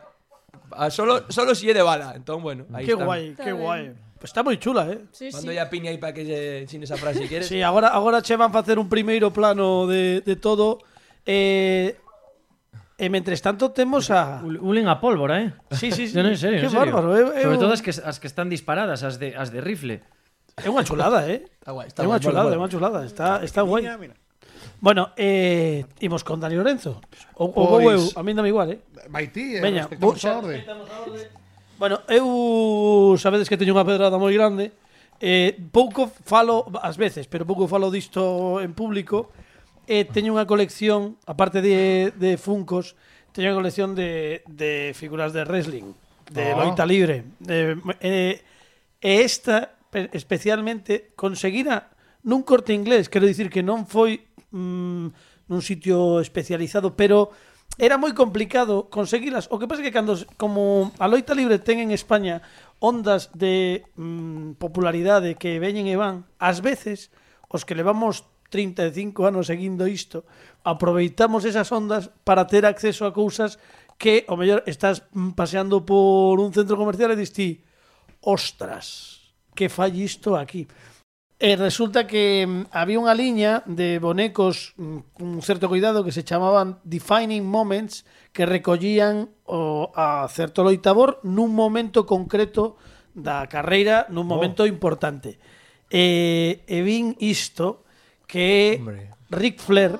S6: a solo solo si é de bala. Entón, bueno, aí
S2: Qué
S6: está.
S2: guai,
S4: Está
S2: qué
S4: ben.
S2: guai. Pues está moi chula, eh.
S4: Sí, sí.
S6: Mando ya piña aí para que lle chine esa frase, queres?
S2: Sí, agora agora che van facer un primeiro plano de, de todo eh e mentres tanto temos a
S5: Ul- Ulen a pólvora, eh?
S2: Sí, sí, sí.
S5: <laughs> No, no, en serio,
S2: Qué
S5: en serio.
S2: bárbaro, eh, eu- eu-
S5: Sobre todo as que, as que están disparadas, as de, as de rifle.
S2: É unha chulada, eh?
S6: Está guai,
S2: É
S6: está
S2: unha
S6: guai,
S2: chulada,
S6: mola,
S2: é unha
S6: mola.
S2: chulada, está está guai. Bueno, eh imos con Dani Lorenzo. O, <laughs>
S3: Pois-
S2: o vou eu, a min dame igual, eh?
S3: Vai ti, eh,
S2: Veña,
S3: respectamos
S2: vou-
S3: a orde.
S2: Bueno, eu sabedes que teño unha pedrada moi grande. Eh, pouco falo ás veces, pero pouco falo disto en público. Eh, teño unha colección, aparte de, de Funcos, teño unha colección de, de figuras de wrestling, de
S3: Ah.
S2: loita libre. Eh, eh, e esta, pe- especialmente, conseguira nun corte inglés, quero dicir que non foi... Mm, nun sitio especializado, pero era moi complicado conseguilas. O que pasa é que cando s- como a loita libre ten en España ondas de mm, popularidade que veñen e van, ás veces os que levamos 35 anos seguindo isto, aproveitamos esas ondas para ter acceso a cousas que, o mellor, estás mm, paseando por un centro comercial e dis ti, ostras, que fai isto aquí. E resulta que mm, había unha liña de bonecos mm, cun certo cuidado que se chamaban Defining Moments que recollían o, a certo loitador nun momento concreto da carreira, nun momento importante. E, e vin isto que é Ric Flair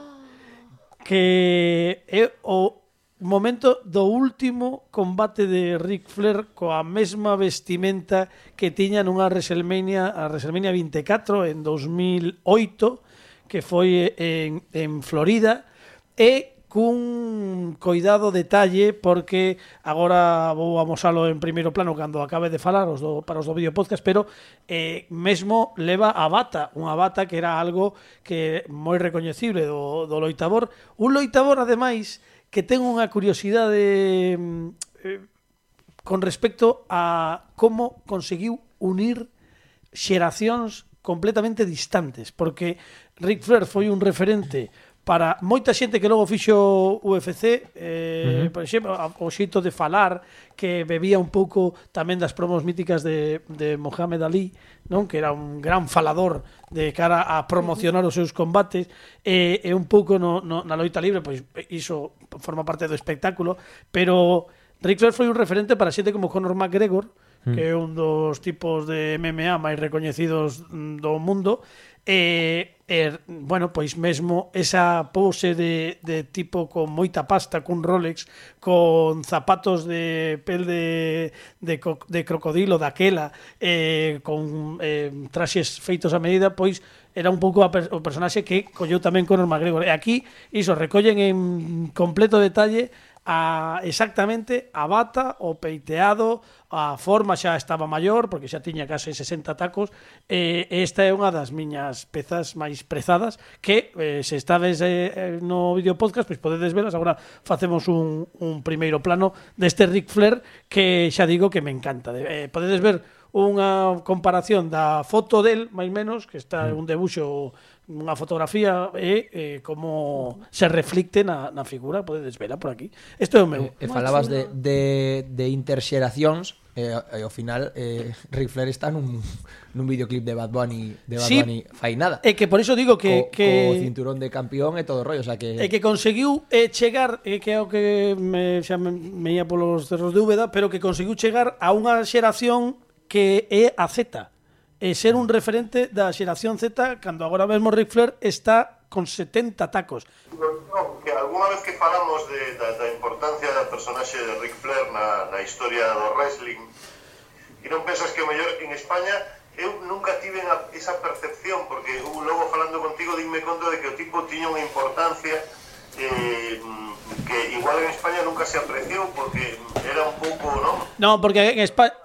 S2: que é o momento do último combate de Ric Flair coa mesma vestimenta que tiña nunha WrestleMania, a WrestleMania 24 en 2008, que foi en, en Florida, e cun coidado detalle porque agora vou amosalo en primeiro plano cando acabe de falar os do, para os do vídeo podcast, pero eh, mesmo leva a bata, unha bata que era algo que moi recoñecible do, do loitador, un loitador ademais que ten unha curiosidade mm, eh, con respecto a como conseguiu unir xeracións completamente distantes, porque Ric Flair foi un referente para moita xente que logo fixo UFC, eh, por exemplo, a- o xeito de falar que bebía un pouco tamén das promos míticas de, de Mohamed Ali, non que era un gran falador de cara a promocionar os seus combates, e, e un pouco no, no, na loita libre, pois iso forma parte do espectáculo, pero Ric Flair foi un referente para xente como Conor McGregor, que é un dos tipos de MMA máis recoñecidos mm, do mundo e, e bueno, pois mesmo esa pose de, de tipo con moita pasta, cun Rolex con zapatos de pel de, de, co- de crocodilo daquela eh, con eh, traxes feitos a medida pois era un pouco a per- o personaxe que colleu tamén Conor McGregor e aquí iso recollen en completo detalle a exactamente a bata, o peiteado, a forma xa estaba maior, porque xa tiña case 60 tacos, e esta é unha das miñas pezas máis prezadas que eh, se estades eh, eh, no vídeo podcast, pois podedes velas, agora facemos un, un primeiro plano deste Ric Flair que xa digo que me encanta. De- Eh, podedes ver unha comparación da foto del, máis menos, que está
S6: Mm.
S2: un debuxo unha fotografía e eh, como se reflicte na, na figura, podedes vela por aquí. Isto é o meu.
S6: E Eh, falabas de, de, de interxeracións e, e ao final eh, Ric Flair está nun, nun videoclip de Bad Bunny de Bad
S2: Sí.
S6: Bunny fai nada
S2: É que por iso digo que
S6: co, co
S2: que
S6: cinturón de campeón e todo o rollo o sea que,
S2: é que conseguiu eh, chegar é que é o que me, xa me, me ia polos cerros de Úbeda, pero que conseguiu chegar a unha xeración que é a Z. E ser un referente da xeración Z cando agora mesmo Ric Flair está con 70 tacos.
S8: Non, que algunha vez que falamos de, da, da importancia da personaxe de Ric Flair na, na historia do wrestling e non pensas que o mellor en España eu nunca tive a, esa percepción porque eu logo falando contigo dime conta de que o tipo tiña unha importancia eh, mm, que igual en España nunca se apreciou porque era un pouco, non?
S2: No, porque en España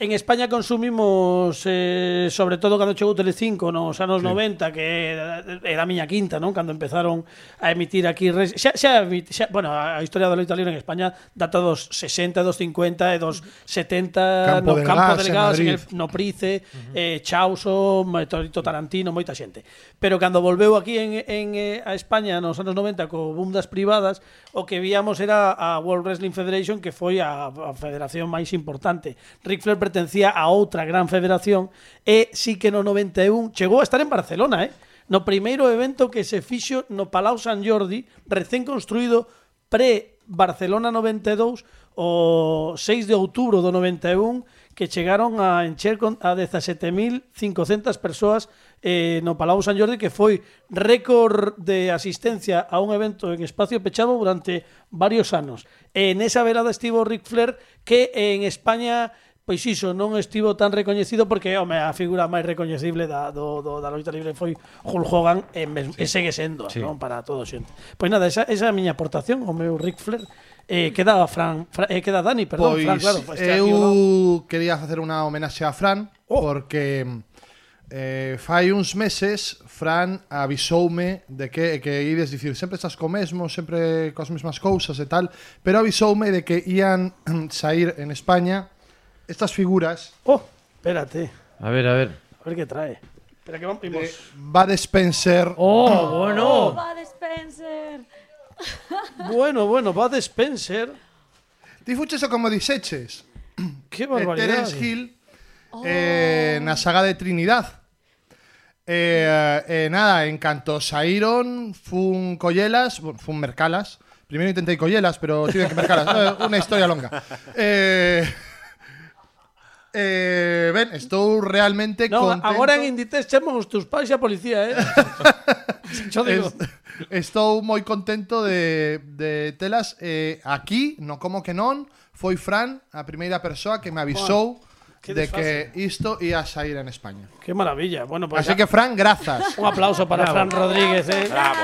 S2: en España consumimos eh, sobre todo cando chegou Telecinco nos anos 90 que era, era a miña quinta, non? Cando empezaron a emitir aquí res- xa, xa, emit- xa, bueno, a historia da loita libre en España data dos 60, dos 50 e dos 70
S3: Campo
S2: no
S3: del
S2: Campo
S3: Gas, en
S2: Delgado, en
S3: Madrid.
S2: el no Price, eh, Chauso, Ma- Torito Tarantino, moita xente. Pero cando volveu aquí en, en, eh, a España nos anos 90 co boom das privadas, o que víamos era a World Wrestling Federation, que foi a, a federación máis importante. Ric Flair pertencía a outra gran federación e sí que no 91 chegou a estar en Barcelona, eh? No primeiro evento que se fixo no Palau San Jordi, recén construído pre Barcelona 92 o 6 de outubro do 91 que chegaron a encher con a 17.500 persoas eh, no Palau San Jordi que foi récord de asistencia a un evento en espacio pechado durante varios anos. En esa velada estivo Ric Flair que en España Pois iso, non estivo tan recoñecido porque, home, a figura máis recoñecible da, do, do, da loita libre foi Hulk Hogan e, mes, sí. e segue sendo, sí. non? Para todo xente. Pois Pues nada, esa, esa é a miña aportación, o meu Ric Flair. Eh, queda Fran, Fran pues este eh, queda Dani, perdón,
S3: Pois
S2: Fran, claro. este aquí o non. Oh.
S3: eu quería facer unha homenaxe a Fran porque eh, fai uns meses Fran avisoume de que, que ides dicir sempre estás co mesmo, sempre coas mesmas cousas e tal, pero avisoume de que ían <clears throat> sair en España estas figuras
S2: Oh, espérate.
S5: A ver, a ver.
S2: A ver qué trae. Espera que vamos.
S3: Bud Spencer,
S5: ¡Oh, bueno!
S4: Bud Spencer.
S2: Bueno, bueno, Bud Spencer.
S3: ti fuches o como dixeches
S2: Qué
S3: eh,
S2: barbaridad.
S3: Terence Hill eh, na saga de Trinidad. Eh, eh, nada, en canto saíron, fun collelas, bu- fun mercalas. Primero intenté collelas, pero tienen que
S9: <laughs>
S3: mercalas. Eh, Una historia longa. Eh, eh, ben, estou realmente
S2: No,
S3: contento.
S2: agora en Inditex chamamos tus pais e a
S3: <laughs>
S2: policía, eh? Yo digo,
S3: Es- estou moi contento de, de telas eh, aquí, no como que non, foi Fran a primeira persoa que me avisou
S2: que
S3: de que isto ia sair en España.
S2: qué maravilla. Bueno, pues
S3: Así
S2: ya-
S3: que Fran, grazas.
S2: un aplauso para Fran Rodríguez, eh.
S4: Fran,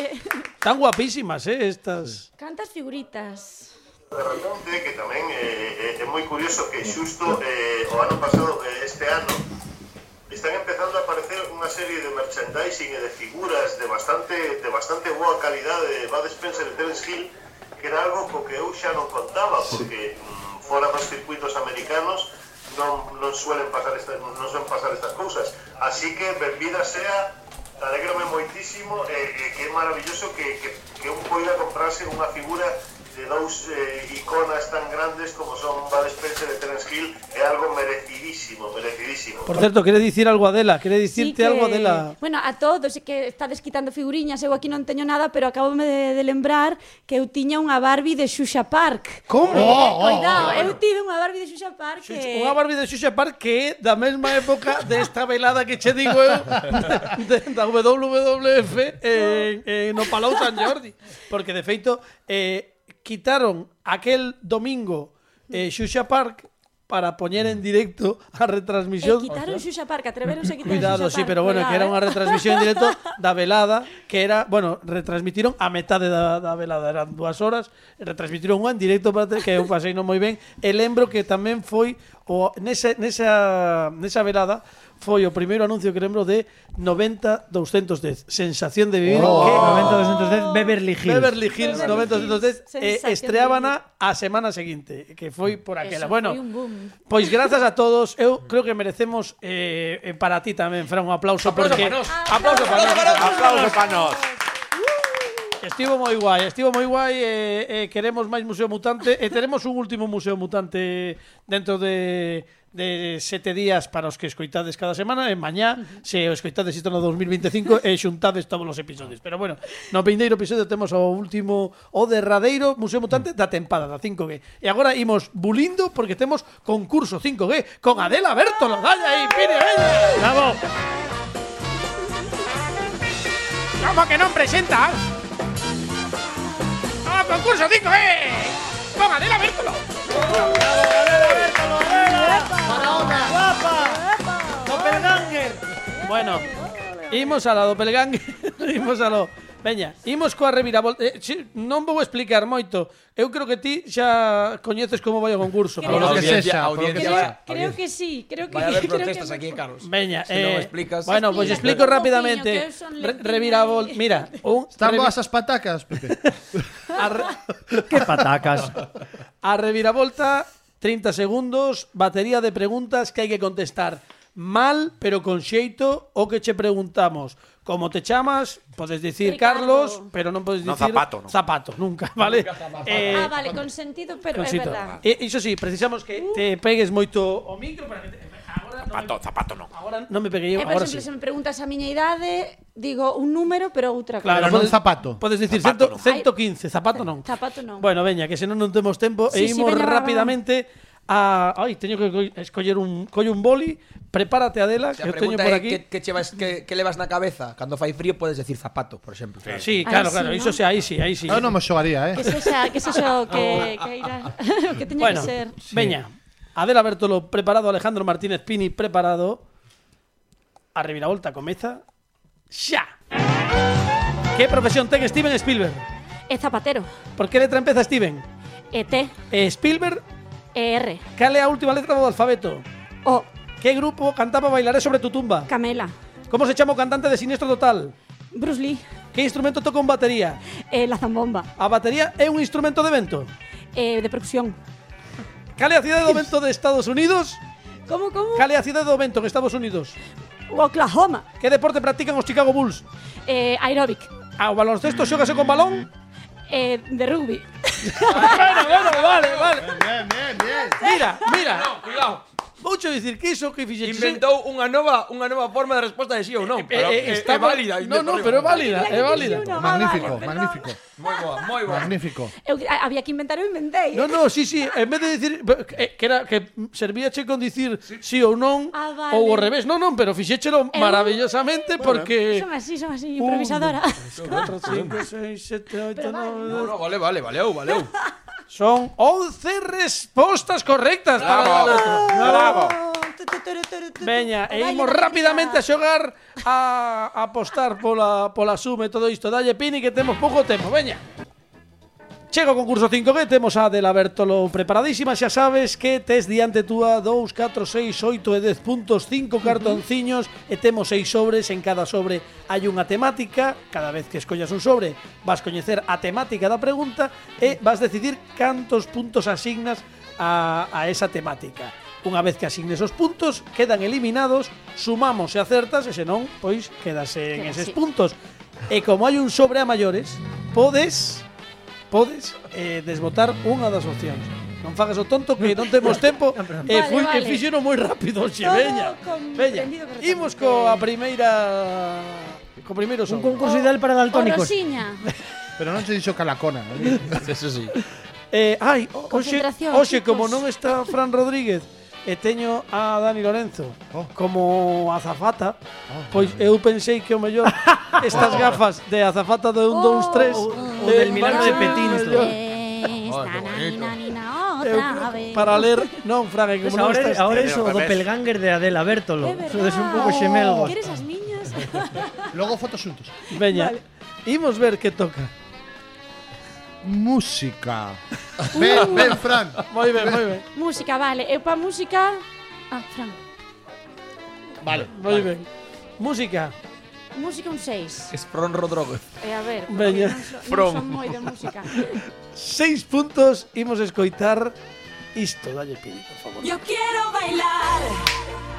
S4: eh, <laughs>
S2: Tan guapísimas, eh, estas.
S4: cantas figuritas.
S8: de repente que tamén eh, eh, é moi curioso que xusto eh, o ano pasado eh, este ano están empezando a aparecer unha serie de merchandising e de figuras de bastante de bastante boa calidade de Bud Spencer e Terence Hill que era algo co que eu xa non contaba porque mm, fora dos circuitos americanos non, non suelen pasar estas non suelen pasar estas cousas así que benvida sea Alégrame moitísimo e, e que é maravilloso que, que, que un poida comprarse unha figura de dous eh, iconas tan grandes como son Bud Spencer e Terence Hill é algo merecidísimo, merecidísimo.
S2: Por cierto, quiere decir algo Adela, quiere
S4: Sí
S2: decirte algo Adela.
S4: Bueno, a todos, é que estades quitando figuriñas, eu aquí non teño nada, pero acabo de, de lembrar que eu tiña unha Barbie de Xuxa Park.
S2: Como?
S4: Eh, Cuidado, eu tive unha Barbie de Xuxa Park eh, que...
S2: Unha Barbie de Xuxa Park que é da mesma época desta velada que che digo eu <laughs> de, da WWF en, en, no Palau San Jordi. Porque, de feito, eh, quitaron aquel domingo eh, Xuxa Park para poñer en directo a
S4: eh,
S2: retransmisión.
S4: quitaron Xuxa Park, atreveronse
S2: <laughs>
S4: a quitar
S2: Cuidado, sí,
S4: Xuxa Park,
S2: pero bueno,
S4: cuidado,
S2: que era
S4: eh.
S2: unha retransmisión en
S4: <laughs>
S2: directo da velada, que era, bueno, retransmitiron a metade da, da velada, eran dúas horas, e retransmitiron unha en directo para te- que eu pasei non moi ben, e lembro que tamén foi o nese, nesa, nesa velada foi o primeiro anuncio que lembro de 90-210, sensación de vivir,
S5: Oh.
S2: que
S5: 90-210 Beverly Hills.
S2: Beverly Hills
S4: Beverly
S2: 90-210
S4: Hills,
S2: eh,
S4: sensación de
S2: estreábana a semana seguinte, que foi por aquela.
S4: Eso
S2: bueno,
S4: foi un boom.
S2: Pois grazas Pues a todos, eu creo que merecemos eh, eh, para ti tamén, Fran, un aplauso,
S6: Aplauso
S2: porque Ah,
S6: pa nós.
S2: aplauso para nós.
S9: Aplauso para nós.
S2: Estivo moi guai, estivo moi guai, eh, eh, queremos máis Museo Mutante e teremos un último Museo Mutante dentro de de sete días para os que escoitades cada semana e mañá, se o escoitades e isto no 2025 e xuntades todos os episodios pero bueno, no vindeiro episodio temos o último o derradeiro Museo Mutante da tempada, da 5G e agora imos bulindo porque temos concurso 5G con Adela Bertolo dale aí, Pire, veña bravo como que non presentas ¡A concurso 5G! ¡Con Adela Bértolo! Bueno, imos a la doppelganger, <laughs> imos a lo... Veña, imos coa reviravolta. Eh, si, non vou explicar moito. Eu creo que ti xa coñeces como vai o concurso.
S4: Creo
S3: lo que
S6: Audiencia,
S3: sexa, por lo que
S6: audiencia,
S4: Creo,
S6: vaya,
S4: creo
S6: audiencia.
S4: que sí, creo que
S6: Vai a haber
S4: <laughs> creo que-
S6: protestas aquí, Carlos.
S2: Veña,
S6: Si
S2: eh,
S6: no me explicas.
S2: Bueno, pois
S4: Explica,
S2: explico
S4: explica un poquinho,
S2: rapidamente.
S4: que eu son
S2: Re-
S4: lentina
S2: Reviravol,
S4: e-
S2: mira, un
S3: Están
S2: revi-
S3: boas as patacas, Pepe.
S2: a re-
S5: ¡Qué patacas!
S2: <laughs> A reviravolta, 30 segundos, batería de preguntas que hai que contestar mal, pero con xeito o que che preguntamos. Como te chamas, podes dicir
S4: Ricardo.
S2: Carlos, pero non podes
S9: No,
S2: dicir
S9: zapato, no.
S2: zapato, nunca, vale? Eh,
S4: Ah, vale, con sentido, pero é
S2: Consito.
S4: verdad. Uh.
S2: E, iso sí, precisamos que te pegues moito o micro para que te, agora
S9: Zapato,
S2: non me,
S9: zapato non.
S2: agora non me peguei eu,
S4: E, por
S2: agora
S4: exemplo,
S2: sí.
S4: se me preguntas a miña idade, digo un número, pero outra
S2: Claro,
S3: Pero non zapato.
S2: Podes dicir
S9: Zapato
S2: cento-
S9: non.
S2: 115, zapato non.
S4: Zapato non.
S2: Bueno, veña, que se non non temos tempo e
S4: Sí, sí,
S2: imos
S4: veña, va, va, va.
S2: rapidamente a Ai, teño que coi- escoller un collo un boli. Prepárate Adela, que
S6: Si a
S2: eu teño
S6: pregunta
S2: por
S6: é
S2: aquí.
S6: que, que, chevas, que, que levas na cabeza Cando fai frío podes decir zapato, por exemplo
S2: Sí,
S4: Ahí
S2: claro,
S4: sí,
S2: claro,
S4: ¿no?
S2: iso se aí sí, aí sí.
S3: Eu non me xogaría, eh.
S4: Que
S2: <laughs>
S4: sexa, que sexa o que, que irá, o <laughs> que teña
S2: bueno,
S4: que ser.
S2: veña. Adela Bertolo preparado, Alejandro Martínez Pini preparado. A reviravolta comeza xa. Que profesión ten Steven Spielberg?
S4: É zapatero,
S2: Por que letra empeza Steven?
S4: E T,
S2: Eh, Spielberg,
S4: E R,
S2: cale a última letra do alfabeto?
S4: O,
S2: Que grupo cantaba Bailaré sobre tu tumba?
S4: Camela.
S2: Como se chama o cantante de Sinistro Total?
S4: Bruce Lee.
S2: Que instrumento toca un batería?
S4: Eh, la zambomba.
S2: A batería é un instrumento de vento?
S4: Eh, de percusión.
S2: Cale a cidade do vento de Estados Unidos?
S4: ¿Cómo, cómo?
S2: Cale a cidade do vento en Estados Unidos?
S4: Oklahoma.
S2: Que deporte practican os Chicago Bulls?
S4: Eh, aeróbic.
S2: Ao baloncesto xógase con balón?
S4: Eh, de rugby.
S2: bueno, bueno, vale, vale.
S3: Bien, bien, bien.
S2: Mira, mira. Cuidado. Voucho dicir que iso que fixeches
S6: Inventou unha nova, unha nova forma de resposta de sí ou non.
S2: Eh, eh, eh, está
S6: é válida.
S2: No, no, pero é válida, é válida.
S6: Oh,
S4: ah,
S3: Magnífico, magnífico,
S6: Moi boa, moi boa.
S3: magnífico.
S4: Eu, a- Eh, había que inventar, eu inventei.
S2: No, no, sí, sí, en vez de decir eh, que era que servíache con dicir sí, ou non
S4: Ah, vale.
S2: ou ao revés. Non, non, pero fixéchelo
S4: Eh,
S2: maravillosamente porque
S4: Son así, son así, improvisadora. <laughs>
S2: 4 5 6 7 8 9
S6: No, no, vale, vale, valeu, valeu.
S2: Son 11 respostas correctas para
S9: Bravo.
S2: Veña, e imos rapidamente a xogar a a apostar pola pola sume todo isto. Dalle Pini que temos pouco tempo, veña. Chega o concurso 5G, temos a Adela Bertolo preparadísima, xa sabes que tes diante túa 2, 4, 6, 8 e 10 puntos, 5 cartonciños e temos 6 sobres, en cada sobre hai unha temática, cada vez que escollas un sobre vas coñecer a temática da pregunta e vas decidir cantos puntos asignas a, a esa temática. Unha vez que asignes os puntos, quedan eliminados, sumamos se acertas e senón, pois, quedas en
S4: Queda
S2: eses
S4: así.
S2: puntos. E como hai un sobre a maiores, podes podes eh, desbotar unha das opcións. Non fagas o tonto que non
S4: <laughs>
S2: temos tempo e
S4: Vale,
S2: fui que
S4: vale.
S2: fixeron moi rápido, xe,
S4: Todo
S2: veña. Veña.
S4: comprendido correctamente.
S2: Imos coa primeira co primeiro son.
S5: Un concurso ideal para daltónicos.
S4: Orosiña.
S3: Pero non te he dicho calacona. ¿eh?
S6: Eso sí.
S2: <laughs> Eh, ai, o- oxe,
S4: Concentración,
S2: oxe
S4: chicos.
S2: como non está Fran Rodríguez e teño a Dani Lorenzo
S3: Oh.
S2: como azafata, pois eu pensei que
S3: <laughs>
S2: o mellor estas gafas de azafata de 1 2 3
S4: Oh.
S5: o del Milano de Petinto.
S4: Eh. Esta
S6: bonito.
S4: nanina, nina, otra vez.
S2: para ler, non, Fran, e
S5: Pues
S2: como non
S5: ahora,
S2: estás
S5: ahora
S9: tío,
S5: es o
S9: al revés.
S5: doppelganger de Adela Bertolo.
S4: É verdad.
S5: Sodes un pouco xemelgos.
S4: Oh. ¿Quieres as miñas? <laughs>
S3: Luego fotos juntos.
S2: Veña, imos ver que toca.
S3: Música. Ven, ven, Fran.
S2: Uh. Moi ben, moi ben,
S4: música, vale. Eu pa música... Ah, Fran.
S3: Vale.
S2: moi ben. Música.
S4: Música un 6.
S6: Es Fron Rodrogo.
S4: E a ver,
S2: Veña.
S4: porque non so- non
S6: From.
S4: son moi de música.
S2: Seis puntos, imos escoitar isto. Dalle pin, por favor.
S10: <laughs> Yo quiero bailar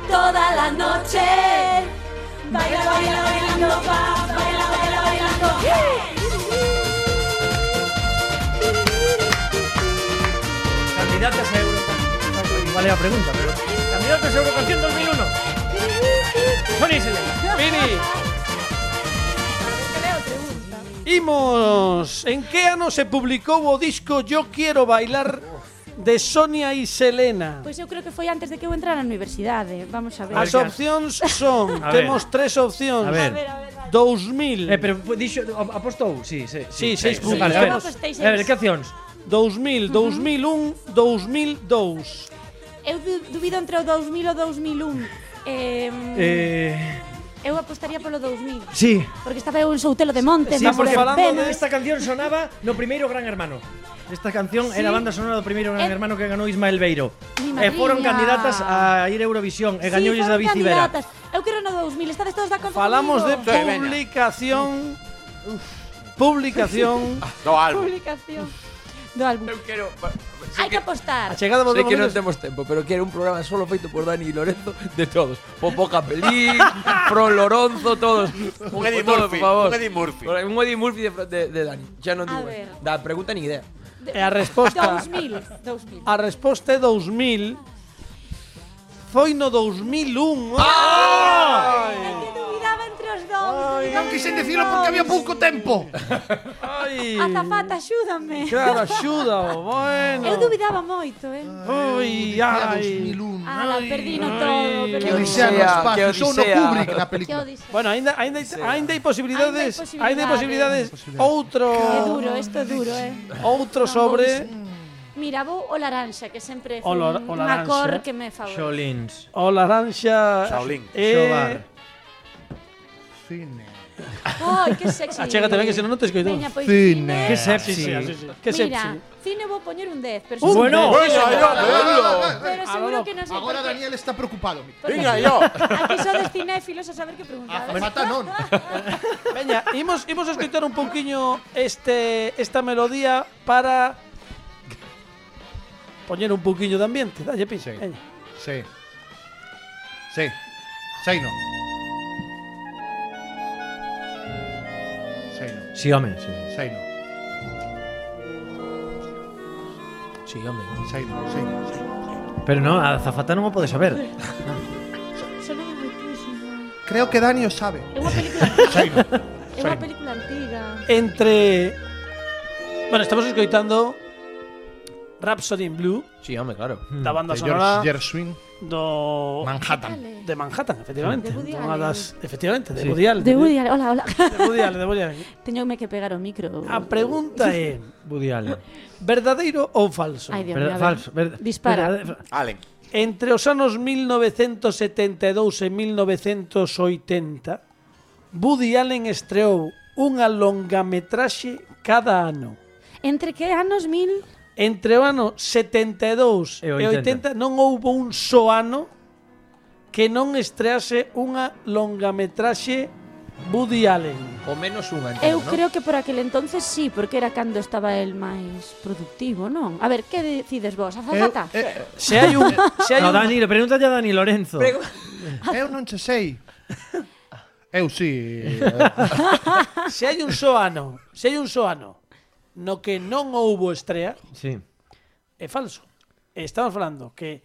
S10: toda la noche. Baila, baila, bailando, va, baila, baila, bailando.
S5: Candidatas a Euro. Vale a pregunta, pero... Candidatas a Eurocanción 2001. Sonísele.
S2: Pini. Imos. En que ano se publicou o disco Yo quiero bailar de Sonia y Selena?
S4: Pois eu creo que foi antes de que eu entrara na universidade. Vamos a ver.
S2: As opcións son,
S5: A ver.
S2: temos tres opcións.
S5: A
S4: A
S5: ver.
S4: ver, a ver, a ver.
S5: Eh,
S2: 2000,
S5: pero fue- dixo, a- apostou? Sí, sí.
S2: Sí, seis puntos.
S5: Vale, a ver.
S4: Eu apostei seis.
S5: A ver, que accións?
S2: 2000, 2001, 2002.
S4: Eu du- dubido entre o 2000 e o 2001. Eh,
S5: Eh,
S4: Eu apostaría polo 2000.
S5: sí.
S4: Porque estaba eu en Soutelo de Monte,
S2: Estamos
S4: nas
S2: falando
S4: verbenas.
S5: Esta canción sonaba no primeiro Gran Hermano. Esta canción
S4: Sí.
S5: era a banda sonora do primeiro Gran
S4: Eh,
S5: Hermano que ganou Ismael Beiro.
S4: mi
S5: E foron
S4: madriña.
S5: candidatas a ir a Eurovisión e gañoulles
S4: foron
S5: David Civera.
S4: candidatas. Eu quero no 2000, estades todos de acordo
S2: Falamos de
S4: comigo?
S9: veña.
S2: publicación.
S3: <laughs>
S4: <laughs>
S2: Publicación.
S9: No, algo.
S4: publicación do álbum.
S6: Eu quero...
S4: Hai que apostar.
S2: A chegada vos
S6: Sei que non
S2: momentos.
S6: temos tempo, pero quero un programa solo feito por Dani Lorenzo de todos. Popo
S4: <laughs>
S6: Capelín, Fron Lorenzo, todos.
S9: Un Eddie
S6: Todos,
S9: Murphy,
S6: por favor.
S9: un Eddie Murphy.
S6: Un Eddie Murphy de, de, de Dani. Ya non
S4: A
S6: digo.
S4: ver.
S6: Da pregunta ni idea.
S2: E a resposta.
S4: 2000, 2000.
S2: A resposta é 2000. Foi no 2001.
S4: Ai, que dubidaba entre os dous.
S3: No quise decirlo porque había poco tiempo.
S2: Ai.
S4: Azafata, axúdame.
S2: Claro, axúdao, bueno.
S4: <laughs> Eu dubidaba moito, eh.
S2: Ui, ai.
S4: Ala, perdino todo,
S3: Que
S4: perdino.
S3: odisea no
S6: Odisea,
S3: espacio.
S6: que
S3: Son no
S6: odisea.
S3: Kubrick na
S4: Que
S3: película.
S4: odisea.
S2: Bueno, ainda ainda hai- ainda hai posibilidades,
S4: Ainda hai
S2: ainda hai posibilidades. Outro
S4: Que duro, isto é duro, eh.
S2: outro sobre
S4: Mira, vou o laranxa, que sempre
S2: O
S4: foi
S2: lar- o
S4: unha
S2: laranxa.
S4: cor que me favorece.
S5: Xolins.
S2: o laranxa
S9: Shaolin.
S2: e
S5: Xogar.
S3: Cine.
S4: Ai,
S2: <laughs>
S4: que sexy.
S2: Achégate ben que senón non te escoito.
S4: Veña, pois
S2: Cine.
S4: cine.
S2: Que sexy. Así,
S3: Ah,
S2: así, así. Que
S4: Mira,
S2: sexy.
S4: cine vou poñer un 10, pero
S2: Un
S4: seguro-
S2: bueno. Veña,
S4: pero,
S2: yo, velo.
S4: seguro que non sei
S3: Agora
S4: por qué.
S3: Daniel está preocupado.
S4: Porque
S3: Venga,
S4: aquí-
S3: yo. Ah,
S4: Aquí só de cinéfilos a saber que preguntades.
S3: Azafata
S2: <laughs>
S3: non.
S2: Veña, imos, imos escoitar un pouquiño este, esta melodía para poñer un pouquiño de ambiente. Dalle, pin. Veña.
S3: Sí. Sí. Seino. Seino.
S5: Sí, home, sí.
S3: Seino.
S6: Sí, home.
S3: Seino, seino, seino.
S5: Pero no, Pues a Zafata non o pode saber.
S4: Sonan moitísimo.
S3: Creo que Dani o sabe.
S4: É unha película antiga.
S5: <laughs>
S2: Saino.
S4: É unha película antiga.
S2: Entre Bueno, estamos escoitando Rhapsody in Blue
S6: Sí, home, claro.
S2: da banda
S3: Hmm, de
S2: sonora
S3: George Gershwin.
S2: do
S3: Manhattan.
S2: de Manhattan, efectivamente.
S4: De Woody
S2: Unha
S4: Allen.
S2: das, efectivamente, de
S5: Sí.
S2: Woody Allen.
S4: De Woody Allen, hola, hola.
S2: De Woody
S4: <laughs>
S2: Allen, de Woody Allen.
S4: Teñome que pegar o micro.
S2: A pregunta é,
S5: Woody Allen.
S2: verdadeiro ou falso?
S4: Ai, Dios mío.
S5: Verda-
S4: a ver.
S5: falso. verda-
S4: Dispara.
S5: verdade- fa-
S9: Allen.
S2: Entre os anos 1972 e 1980, Woody Allen estreou unha longametraxe cada ano.
S4: Entre que anos mil?
S2: Entre o ano 72
S5: E
S2: e 80, non houbo un só ano que non estrease unha longametraxe Woody Allen.
S6: O menos unha, entón,
S4: Eu
S6: ¿no?
S4: creo que por aquel entonces sí, porque era cando estaba el máis productivo, non? A ver, que decides vos?
S3: Eh,
S4: Azafata?
S3: Eu,
S2: Se hai un, se hai
S5: No,
S2: un
S5: Dani, pregúntate a Dani Lorenzo.
S3: eh, eu non che sei. Eu sí. eh.
S2: <laughs> Se hai un só ano, se hai un só ano no que non houbo estrea,
S5: Sí.
S2: é falso. Estamos falando que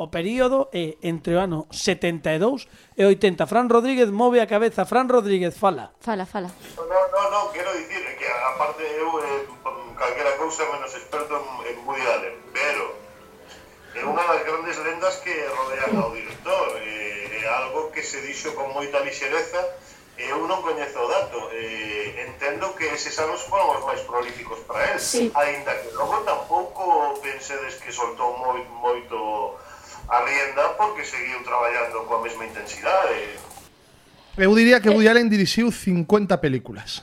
S2: o período é entre o ano 72 e 80. Fran Rodríguez move a cabeza, Fran Rodríguez fala.
S4: Fala, fala.
S8: No, no, no, quero dicir que aparte eu eh, calquera cousa menos experto en, en Woody Allen, pero é unha das grandes lendas que rodean ao director, eh, é algo que se dixo con moita lixereza, e eu non coñezo o dato, eh, entendo que eses anos foron os máis prolíficos para él,
S4: Sí.
S8: ainda que logo tampouco pensedes que soltou moi, moito a rienda porque seguiu traballando coa mesma intensidade,
S3: Eu diría que
S4: Eh.
S3: Woody Allen dirixiu 50 películas.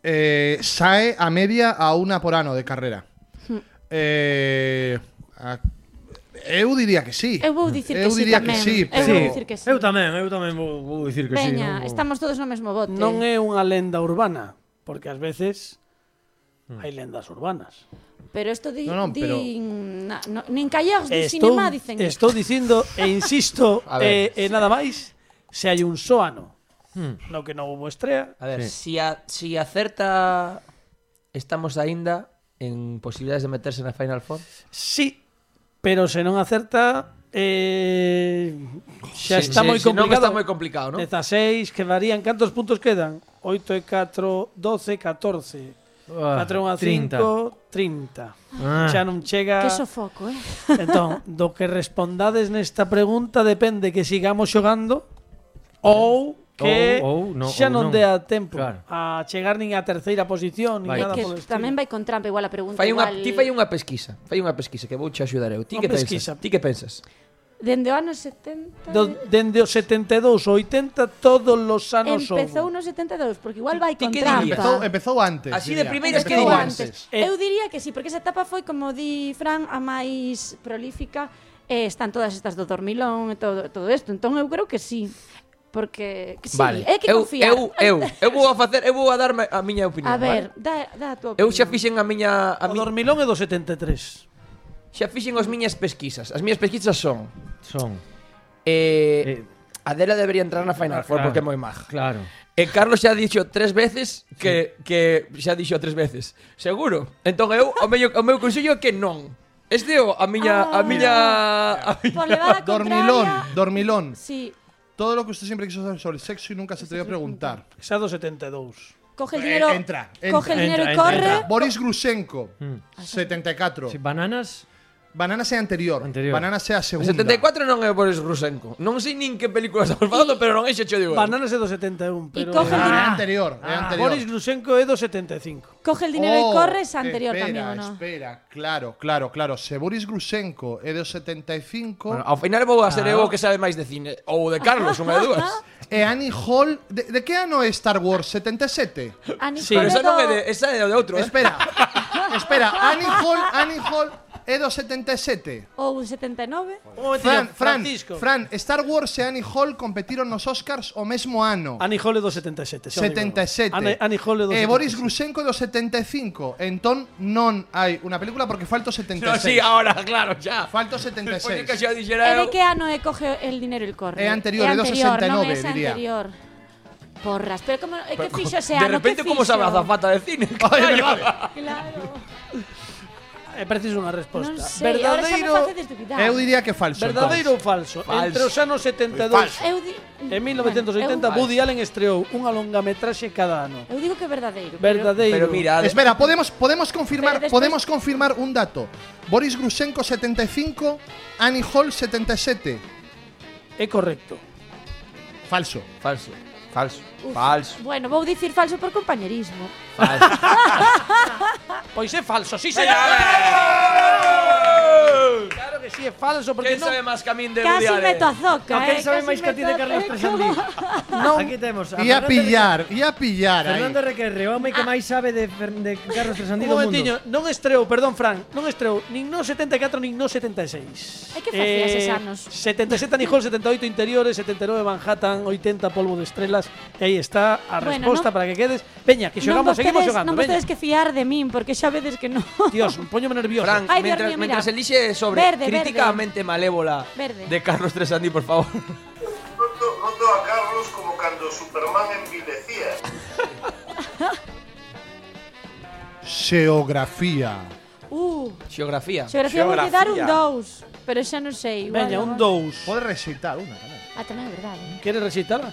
S3: Eh, sae a media a una por ano de carrera.
S4: Hmm.
S3: Eh, a, eu diría que sí.
S4: Eu vou dicir
S3: eu
S4: que sí
S3: diría
S4: tamén.
S3: Que sí,
S4: Eu
S3: pero-
S4: vou dicir que sí.
S5: Eu tamén, eu tamén vou, vou dicir que sí. non
S4: Veña,
S5: vou-
S4: estamos todos no mesmo bote.
S2: Non é unha lenda urbana, porque ás veces
S5: Hmm.
S2: hai lendas urbanas.
S4: Pero isto di,
S3: No, no, pero-
S4: din, na, no, nin calleos de
S2: Estou,
S4: cinema dicen.
S2: estou dicindo e
S4: <laughs>
S2: insisto
S6: A
S2: e,
S6: ver. Hmm.
S2: e nada máis se hai un só ano no que non houbo estrea.
S6: A ver, si, a, si acerta estamos aínda en posibilidades de meterse na Final Four.
S2: Sí, pero se non acerta eh, xa
S6: Se-
S2: está
S6: se-
S2: moi
S6: se non
S2: complicado.
S6: está moi complicado, ¿no?
S2: 16, quedarían cantos puntos quedan? 8 e 4, 12, 14.
S5: Ah,
S2: 4 e 5, 30.
S5: Ah.
S2: Xa non chega.
S4: Que sofoco, eh?
S2: <laughs> Entón, do que respondades nesta pregunta depende que sigamos xogando ou que
S5: Ou- ou no-
S2: xa
S5: ou
S2: non
S5: non.
S2: dea tempo
S5: Claro.
S2: a chegar nin á terceira posición nin
S5: Vai.
S2: nada
S4: que
S2: polo estilo.
S4: tamén vai con trampa igual a pregunta.
S6: Fai unha,
S4: igual,
S6: ti fai unha pesquisa, fai unha pesquisa que vouche axudar eu. Ti
S2: Unha
S6: que
S2: pesquisa.
S6: pensas? Ti que pensas?
S4: Dende o ano 70...
S2: Do, dende os 72 ao 80 todos os anos
S4: Empezou
S2: houbo.
S4: no 72, porque igual vai
S6: Ti
S4: con
S6: que
S4: trampa.
S6: dirías?
S3: Empezou, empezou antes.
S6: Así
S3: diría.
S6: de primeiras, que
S3: Empezou
S6: dirías?
S3: antes.
S2: Eh,
S4: Eu diría que sí, porque esa etapa foi, como di Fran, a máis prolífica. Eh, están todas estas do dormilón e todo, todo esto. Entón, eu creo que sí. Porque que sí, é que
S6: eu,
S4: confiar.
S6: eu,
S4: <laughs>
S6: eu, eu vou a facer, eu vou a darme a miña opinión.
S4: A ver,
S6: vale?
S4: dá, dá a tua
S6: eu xa
S4: opinión.
S6: fixen a miña a
S2: o
S6: mi,
S2: dormilón é do 73.
S6: xa fixen as miñas pesquisas. As miñas pesquisas son
S5: Son.
S6: eh,
S5: Eh,
S6: Adela debería entrar na Final Four
S5: claro.
S6: porque é moi maja.
S5: Claro.
S4: Ah.
S6: E Carlos xa dixo tres veces que, que xa dixo tres veces. Seguro. Entón eu o meu o meu consello é que non. Este é o a miña a
S4: Ah.
S6: miña a miña
S4: Por levada
S3: Dormilón,
S4: contraria-
S3: dormilón.
S4: Sí,
S3: Todo lo que usted siempre quiso saber sobre el sexo y nunca se atrevió a preguntar.
S2: Xa do 72.
S4: coge el
S3: Eh,
S4: dinero,
S3: entra, entra,
S4: coge el dinero
S5: entra,
S4: y
S5: entra,
S4: corre.
S5: entra.
S3: Boris Grushenko, 74.
S5: Si, bananas.
S3: Banana sea anterior. Banana sea segunda.
S6: 74 non é Boris Rusenko. Non sei nin que película estamos falando, pero non é xe de Bueno.
S2: Bananas é do 71, pero...
S3: coge el Ah, dinero. é anterior, é anterior.
S2: Boris Glusenko é do 75.
S4: Coge el dinero
S3: Oh,
S4: y corre, es anterior
S3: espera,
S4: también, ¿o no?
S3: Espera, claro, claro, claro. Se Boris Grusenko é do 75.
S6: Bueno, ao final vou a ser eu o que sabe máis de cine ou de Carlos, unha de
S3: <laughs>
S4: <laughs>
S6: dúas.
S3: E Annie Hall, de, de que ano é Star Wars? 77.
S4: Annie
S6: Sí, pero esa non é de, esa é de outro, eh? <laughs>
S3: Espera. espera, Annie Hall, Annie Hall é do 77.
S4: O 79.
S3: Fran, Fran, Fran, Star Wars e Annie Hall competiron nos Oscars o mesmo
S6: Ah,
S3: ano.
S2: Annie Hall é do 77. xa o digo.
S3: 77.
S2: Annie, Annie Hall é do
S3: E
S2: 77.
S3: Boris Grusenko do 75. Entón non hai unha película porque falta o 76.
S6: No, sí, ah, ahora, claro, ya.
S3: Falta o
S6: Despois de
S3: 76.
S6: que xa dixera
S4: ¿E
S2: Eh,
S6: eu...
S4: de qué ano é coge el dinero y corre?
S3: É anterior, é do
S4: non
S3: 69,
S4: es
S3: diría.
S4: anterior. Porras, pero como, é
S6: Pero,
S4: que fixo ese
S6: De
S4: ano,
S6: repente,
S4: que
S6: como sabe a
S4: fixo?
S6: zafata de
S2: <laughs>
S6: cine?
S3: Ai, é verdade.
S4: Claro.
S2: É preciso unha resposta.
S4: Non sei, ahora xa me facedes dubidar.
S3: Eu diría que falso.
S2: Verdadeiro ou falso?
S6: Falso.
S2: Entre os anos 72
S9: Falso.
S4: Eu di-
S2: e 1980,
S4: Bueno, eu-
S2: Woody Allen estreou unha longametraxe cada ano.
S4: Eu digo que é verdadeiro. pero-
S2: Verdadeiro.
S6: Pero mira, de-
S3: Espera, podemos, podemos confirmar,
S4: Pero después-
S3: podemos confirmar un dato. Boris Grusenko 75, Annie Hall 77.
S2: É correcto.
S3: Falso.
S6: Falso. Falso. Falso.
S4: Bueno, vou dicir falso por compañerismo.
S6: Falso.
S2: Pois é falso, sí, señor. Claro que sí, é falso, porque
S6: Quen
S2: non...
S6: sabe máis camín de
S4: Casi
S6: Woody
S4: meto a
S6: Allen?
S4: zoca,
S5: No,
S4: eh.
S5: quen sabe
S4: casi
S5: máis que a ti
S4: meto
S5: de
S4: a
S5: Carlos
S4: zoca.
S5: Tresandí?
S2: Non.
S5: Aquí temos a
S3: Y a
S5: Fernando
S3: pillar, y a pillar.
S5: Requer- Fernando
S3: Ahí.
S5: Requerre, o home que máis sabe de, Fer- de Carlos Tresandí
S2: Un
S5: do mundo.
S2: momentiño, non estreou, perdón, Fran, non estreou nin no 74 nin no 76.
S4: Ai, que facías
S2: Eh,
S4: eses anos?
S2: 77 Annie Hall, 78 Interiores, 79 Manhattan, 80 Polvo de Estrelas. E aí está a
S4: Bueno,
S2: resposta
S4: non-
S2: para que quedes. Veña, que xogamos,
S4: non
S2: seguimos
S4: vostedes-
S2: xogando,
S4: Non vos
S2: veña.
S4: tedes que fiar de min, porque xa vedes que non.
S2: Dios, poñome nervioso.
S6: Fran,
S4: Ay, Dios
S6: mientras,
S4: mío, mira.
S6: mientras elige sobre
S4: Verde,
S6: crítica a
S4: verde.
S6: mente malévola
S4: Verde.
S6: de Carlos Tresandi, por favor. <laughs>
S8: Noto, noto a Carlos como cando Superman envilecía.
S3: Geografía.
S4: Uh,
S6: Geografía.
S4: xeografía vou dar un
S9: Xeografía.
S4: 2, pero xa non sei. igual
S2: Veña, un
S4: agora-
S2: 2.
S3: Puedes recitar una, ¿no?
S4: Ah, tamén é verdade.
S2: Queres recitarla?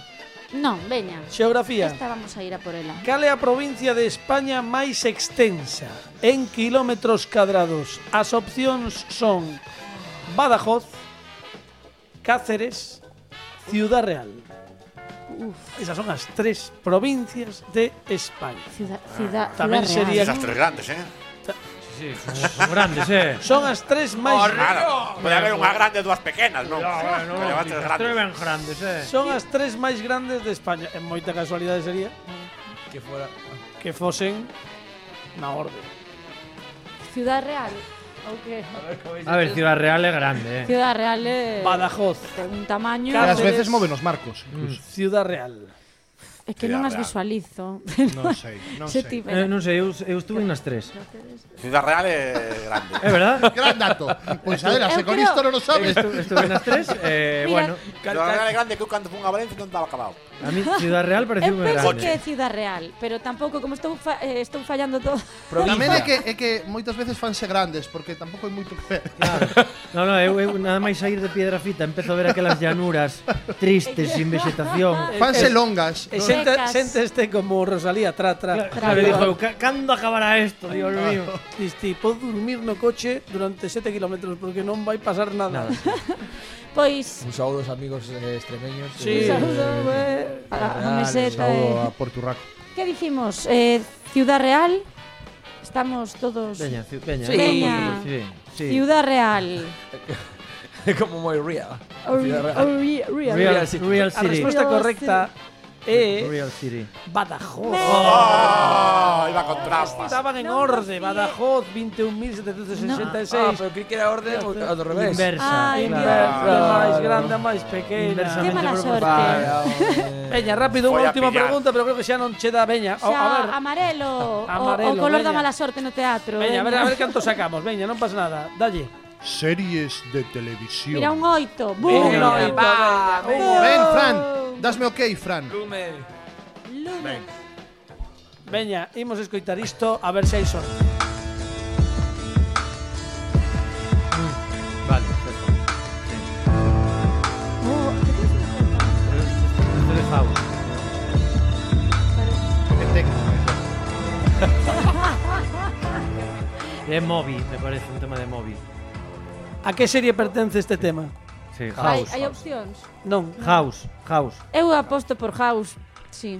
S4: Non, veña.
S2: Xeografía.
S4: Esta vamos a ir a por ela.
S2: Cal é a provincia de España máis extensa en kilómetros cadrados? As opcións son Badajoz, Cáceres, Ciudad Real. Esas son as tres provincias de España.
S4: Ciudad, ciudad,
S2: Tamén
S4: ciudad
S2: sería-
S4: real.
S9: Esas tres grandes, ¿eh?
S5: Sí, son grandes, eh.
S2: Son as tres máis
S9: <laughs> Claro. Puede haber unha grande e dúas pequenas, non? Pero van tres grandes.
S5: Atreven grandes, eh.
S2: son as tres máis grandes de España. En moita casualidade sería
S6: Que fuera.
S2: que fosen na orde.
S4: Ciudad real. Ou que?
S5: A ver, Ciudad Real é grande, eh.
S4: Ciudad real é
S2: Badajoz,
S4: ten un tamaño.
S3: Las
S2: Claro.
S3: veces
S2: Cáceres.
S3: mueven los marcos. incluso.
S2: Ciudad Real.
S4: É que
S9: Ciudad
S4: non as
S9: Real.
S2: <laughs>
S4: visualizo. <laughs>
S3: Non sei, non
S4: Se
S3: sei.
S4: ti
S5: Eh, non sei, eu, eu estuve nas tres.
S9: Ciudad Real é grande.
S5: É verdad?
S3: <laughs> Gran dato. Pois Adela,
S4: Eu
S3: se con
S4: creo-
S3: isto non lo sabes.
S5: Estu- estuve nas tres, eh,
S4: Eh,
S5: bueno.
S4: Mira,
S9: Ciudad Real é grande que eu cando fun a Valencia non estaba acabado.
S5: A mí Ciudad Real parece
S4: Eu
S5: moi
S4: penso
S5: grande.
S4: Em, que é Ciudad Real, pero tampouco como estou fa eh, estou fallando todo.
S3: Tamén é que, é que moitas veces fanse grandes, porque tampouco hai moito que
S5: <laughs>
S3: ver.
S5: No, no, eu, eu nada máis sair de Piedra Fita empezo a ver aquelas llanuras tristes, sin
S4: <laughs>
S5: vegetación.
S3: Fanse longas.
S2: E
S4: Non.
S2: sente,
S4: Secas.
S2: sente este como Rosalía, tra, tra.
S5: Claro, dixo, eu, "Ca- cando acabará esto, Dios mío?
S2: Cristi, podo dormir no coche durante 7 kilómetros porque non vai pasar nada.
S5: Nada.
S4: Pois
S6: Un saúdo aos amigos eh, extremeños.
S2: Sí.
S6: Eh,
S4: saúdo, eh, a a
S6: Real,
S4: meseta.
S9: saúdo
S5: Ah,
S4: eh.
S3: Porturraco.
S4: Que dicimos? Eh, Ciudad Real. Estamos todos
S5: Veña, ci- veña.
S6: Sí.
S4: Veña.
S5: Sí, sí.
S4: Ciudad Real.
S6: <laughs> como moi ría. Ciudad Real.
S4: Real. Real.
S5: Real,
S6: City.
S5: Real
S2: A
S5: City.
S2: resposta correcta é
S5: Real City.
S2: Badajoz.
S9: Oh, iba con trampas.
S2: Estaban en orde, Badajoz 21.766.
S6: Ah, pero creí que era orde ou ao do revés.
S5: Inversa.
S4: Ay,
S2: Inversa,
S6: Claro.
S2: máis grande, máis pequena.
S4: Qué
S5: Inversamente
S4: mala
S5: proporcional.
S4: sorte.
S6: Vaya, hombre.
S2: Veña, rápido, unha
S9: Voy a
S2: última
S9: pillar.
S2: pregunta, pero creo que xa non che dá veña. O-
S4: Xa,
S2: Oh, a ver,
S4: amarelo, o-
S2: Amarelo,
S4: o, color da
S2: veña.
S4: mala sorte no teatro.
S2: veña, a ver,
S4: veña.
S2: a ver canto sacamos. Veña, non pasa nada. Dalle.
S3: Series de televisión.
S4: Mira un oito.
S2: Un
S4: Bum.
S5: Veña.
S2: oito, veña, veña.
S3: Ven, Fran. Dasme ok, Fran.
S6: Lumen.
S4: Lumen.
S2: Veña, imos escoitar isto a ver se hai sorte.
S5: Vale. Esto de House.
S3: Que te-
S5: De Moby, me parece un tema de Moby.
S2: A que serie pertence este tema?
S5: Sí,
S4: Hai,
S5: House.
S4: hai opcións.
S2: Non.
S5: House, House,
S4: Eu aposto por House. Sí.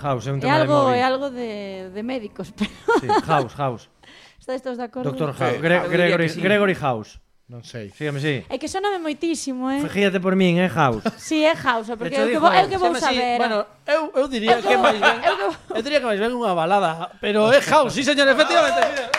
S5: House, é un
S4: É
S5: tema de
S4: algo,
S5: móvil.
S4: eh. é algo de, de médicos, <laughs> pero
S5: Sí, House, House.
S4: <laughs> estades todos de acordo?
S5: Doctor House, Gre-
S6: eu diría
S5: Gregory,
S6: que sí.
S5: Gregory House.
S3: Non sei.
S5: Sígame, sí.
S4: É que soname moitísimo, eh?
S5: Fíjate por min, eh, House.
S4: Si, sí, é House, porque
S5: De hecho,
S4: eu que
S5: dijo
S4: vou, eu
S5: él,
S4: que vou
S2: Chama así,
S4: saber.
S2: Bueno, eu, eu diría
S4: Eu
S2: que
S4: vou-
S2: máis ben...
S4: eu vou-
S2: Eu diría que máis ben unha balada, pero é House, sí, señor, efectivamente. mira.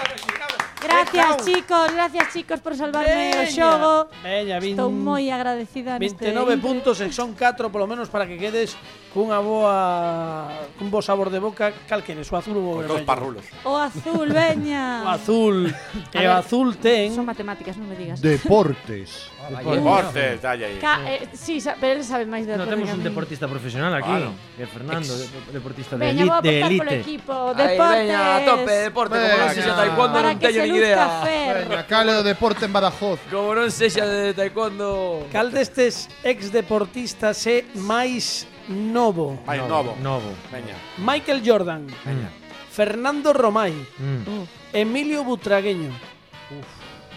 S4: gracias,
S2: House.
S4: chicos, gracias, chicos, por salvarme o
S2: Veña,
S4: xogo.
S2: Veña, vin-
S4: Estou moi agradecida este neste
S2: 29
S4: intre.
S2: puntos e son 4 polo menos para que quedes cunha boa cun bo sabor de boca, cal queres, o azul ou o
S9: Con dos
S2: vermello?
S9: parrulos.
S4: O azul, veña.
S2: <laughs> O azul, e o
S4: ver.
S2: azul ten
S4: Son matemáticas, non me digas.
S3: Deportes.
S9: Deportes, dale ahí.
S4: Ca eh, sí, sa- pero él sabe máis de
S5: No
S4: deporte
S5: temos
S4: que a
S5: un
S4: mí.
S5: deportista profesional aquí,
S9: Claro.
S5: que é Fernando, de- deportista de
S4: Veña,
S5: elite,
S4: vou apostar
S5: de
S4: polo
S5: elite.
S4: equipo.
S6: Ahí,
S4: Deportes.
S6: veña, a tope, deporte. Como non
S3: Veña.
S6: sexa taekwondo,
S4: Para
S6: non
S4: que
S6: teño
S4: se
S6: nin
S4: luzca
S6: idea.
S4: Fer.
S3: Veña, cale o deporte en Badajoz.
S6: Como non sexa de taekwondo...
S2: cal destes ex deportistas é máis novo.
S9: Vai, novo.
S5: Novo.
S9: Veña.
S2: Michael Jordan,
S5: Veña.
S2: Fernando Romay,
S5: Mm.
S2: Emilio Butragueño.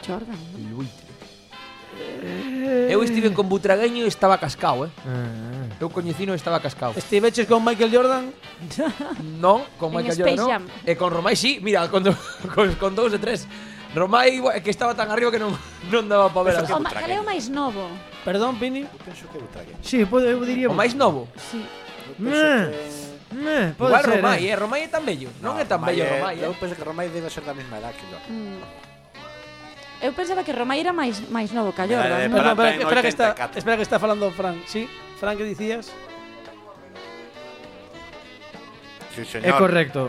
S4: Jordan.
S6: Eu estive con Butragueño e estaba cascao, eh.
S5: Ah,
S6: Eu coñecino e estaba cascao.
S2: Estiveches con Michael
S4: <laughs>
S2: Jordan?
S6: Non, con
S4: En
S6: Michael Jordan
S4: Space
S6: non.
S4: Jam.
S6: E con Romai sí, mira, con, do, <laughs> con, con dous de tres. Romai igual- que estaba tan arriba que non, non daba para ver. as-
S4: O ma- caleo máis novo.
S2: Perdón, Pini.
S5: Sí, pode, eu diría...
S6: O máis novo.
S4: Sí.
S5: <laughs>
S4: <laughs>
S5: Meh, meh, pode
S6: Igual
S5: ser,
S6: Romai,
S5: eh.
S6: eh. Romai é tan bello. Non é tan
S9: Romai
S6: bello
S9: é-
S6: Romai, eh.
S9: Eu penso que Romai debe ser da mesma edad que yo.
S4: Mm. Eu pensaba que Romay era máis máis novo que
S9: Vale,
S4: Jordan.
S9: vale.
S2: Perdón,
S9: Para
S2: espera,
S9: ten
S2: que- espera que está,
S9: 84.
S2: espera que está falando Fran. Sí, Fran, que dicías?
S9: Sí, señor.
S5: É correcto.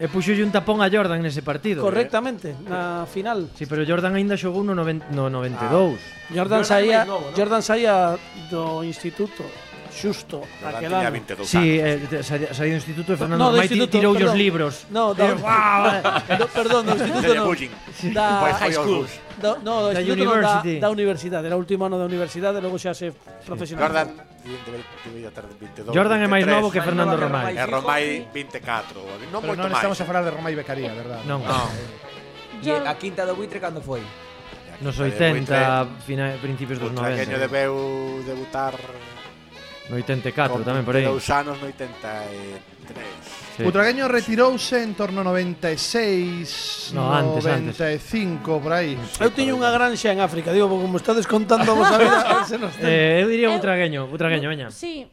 S5: E puxolle un tapón a Jordan nese partido. eh.
S2: Correctamente, na final.
S5: Sí, pero Jordan aínda xogou no, noven, no 92.
S2: Jordan
S6: Jordan
S2: saía,
S6: máis novo, non?
S2: Jordan saía do instituto xusto
S9: Jordán
S2: aquel ano.
S9: tiña 22
S5: Sí,
S9: anos.
S5: eh, te- saía, saía do instituto e
S2: No,
S5: Fernando
S2: do
S5: Romai ti-
S2: instituto,
S5: tiroulle os
S2: perdón.
S5: libros. Eh,
S2: No, do, <laughs> do, perdón, do instituto
S9: <laughs> Sería
S2: non.
S9: bullying.
S2: Da
S9: Pois foi
S2: high
S9: aos
S2: school.
S9: bus.
S2: Do, no, do
S5: Da
S2: instituto non, da,
S5: university.
S2: da universidade, era o último ano da universidade, logo xa se
S9: Jordan
S2: profesional.
S9: debe- debería ter 22.
S5: Jordan é máis
S9: 23.
S5: novo que
S6: Máis
S5: Fernando
S6: novo que
S5: Romai.
S9: E Romai 24. Non
S3: Pero
S9: moito
S3: non
S9: máis.
S3: estamos a falar de Roma e Becaría, verdad?
S5: Non,
S6: E a quinta do buitre cando foi?
S5: nos
S9: Vale, Buitre.
S5: 80, fina, principios dos
S9: O traqueño
S5: 90.
S9: debeu debutar
S5: No 84
S9: con
S5: tamén por aí.
S9: 22 anos no
S6: eh,
S9: 83.
S5: Sí.
S3: Butragueño retirouse en torno ao 96,
S5: No, antes, antes.
S3: 95, por aí.
S2: Eu tiño unha granxa en África, digo, como estades contando vos a
S4: <laughs>
S2: ver, se nos ten.
S5: Eh, eu diría
S4: Eu-
S5: Butragueño, Butragueño, veña.
S4: Sí.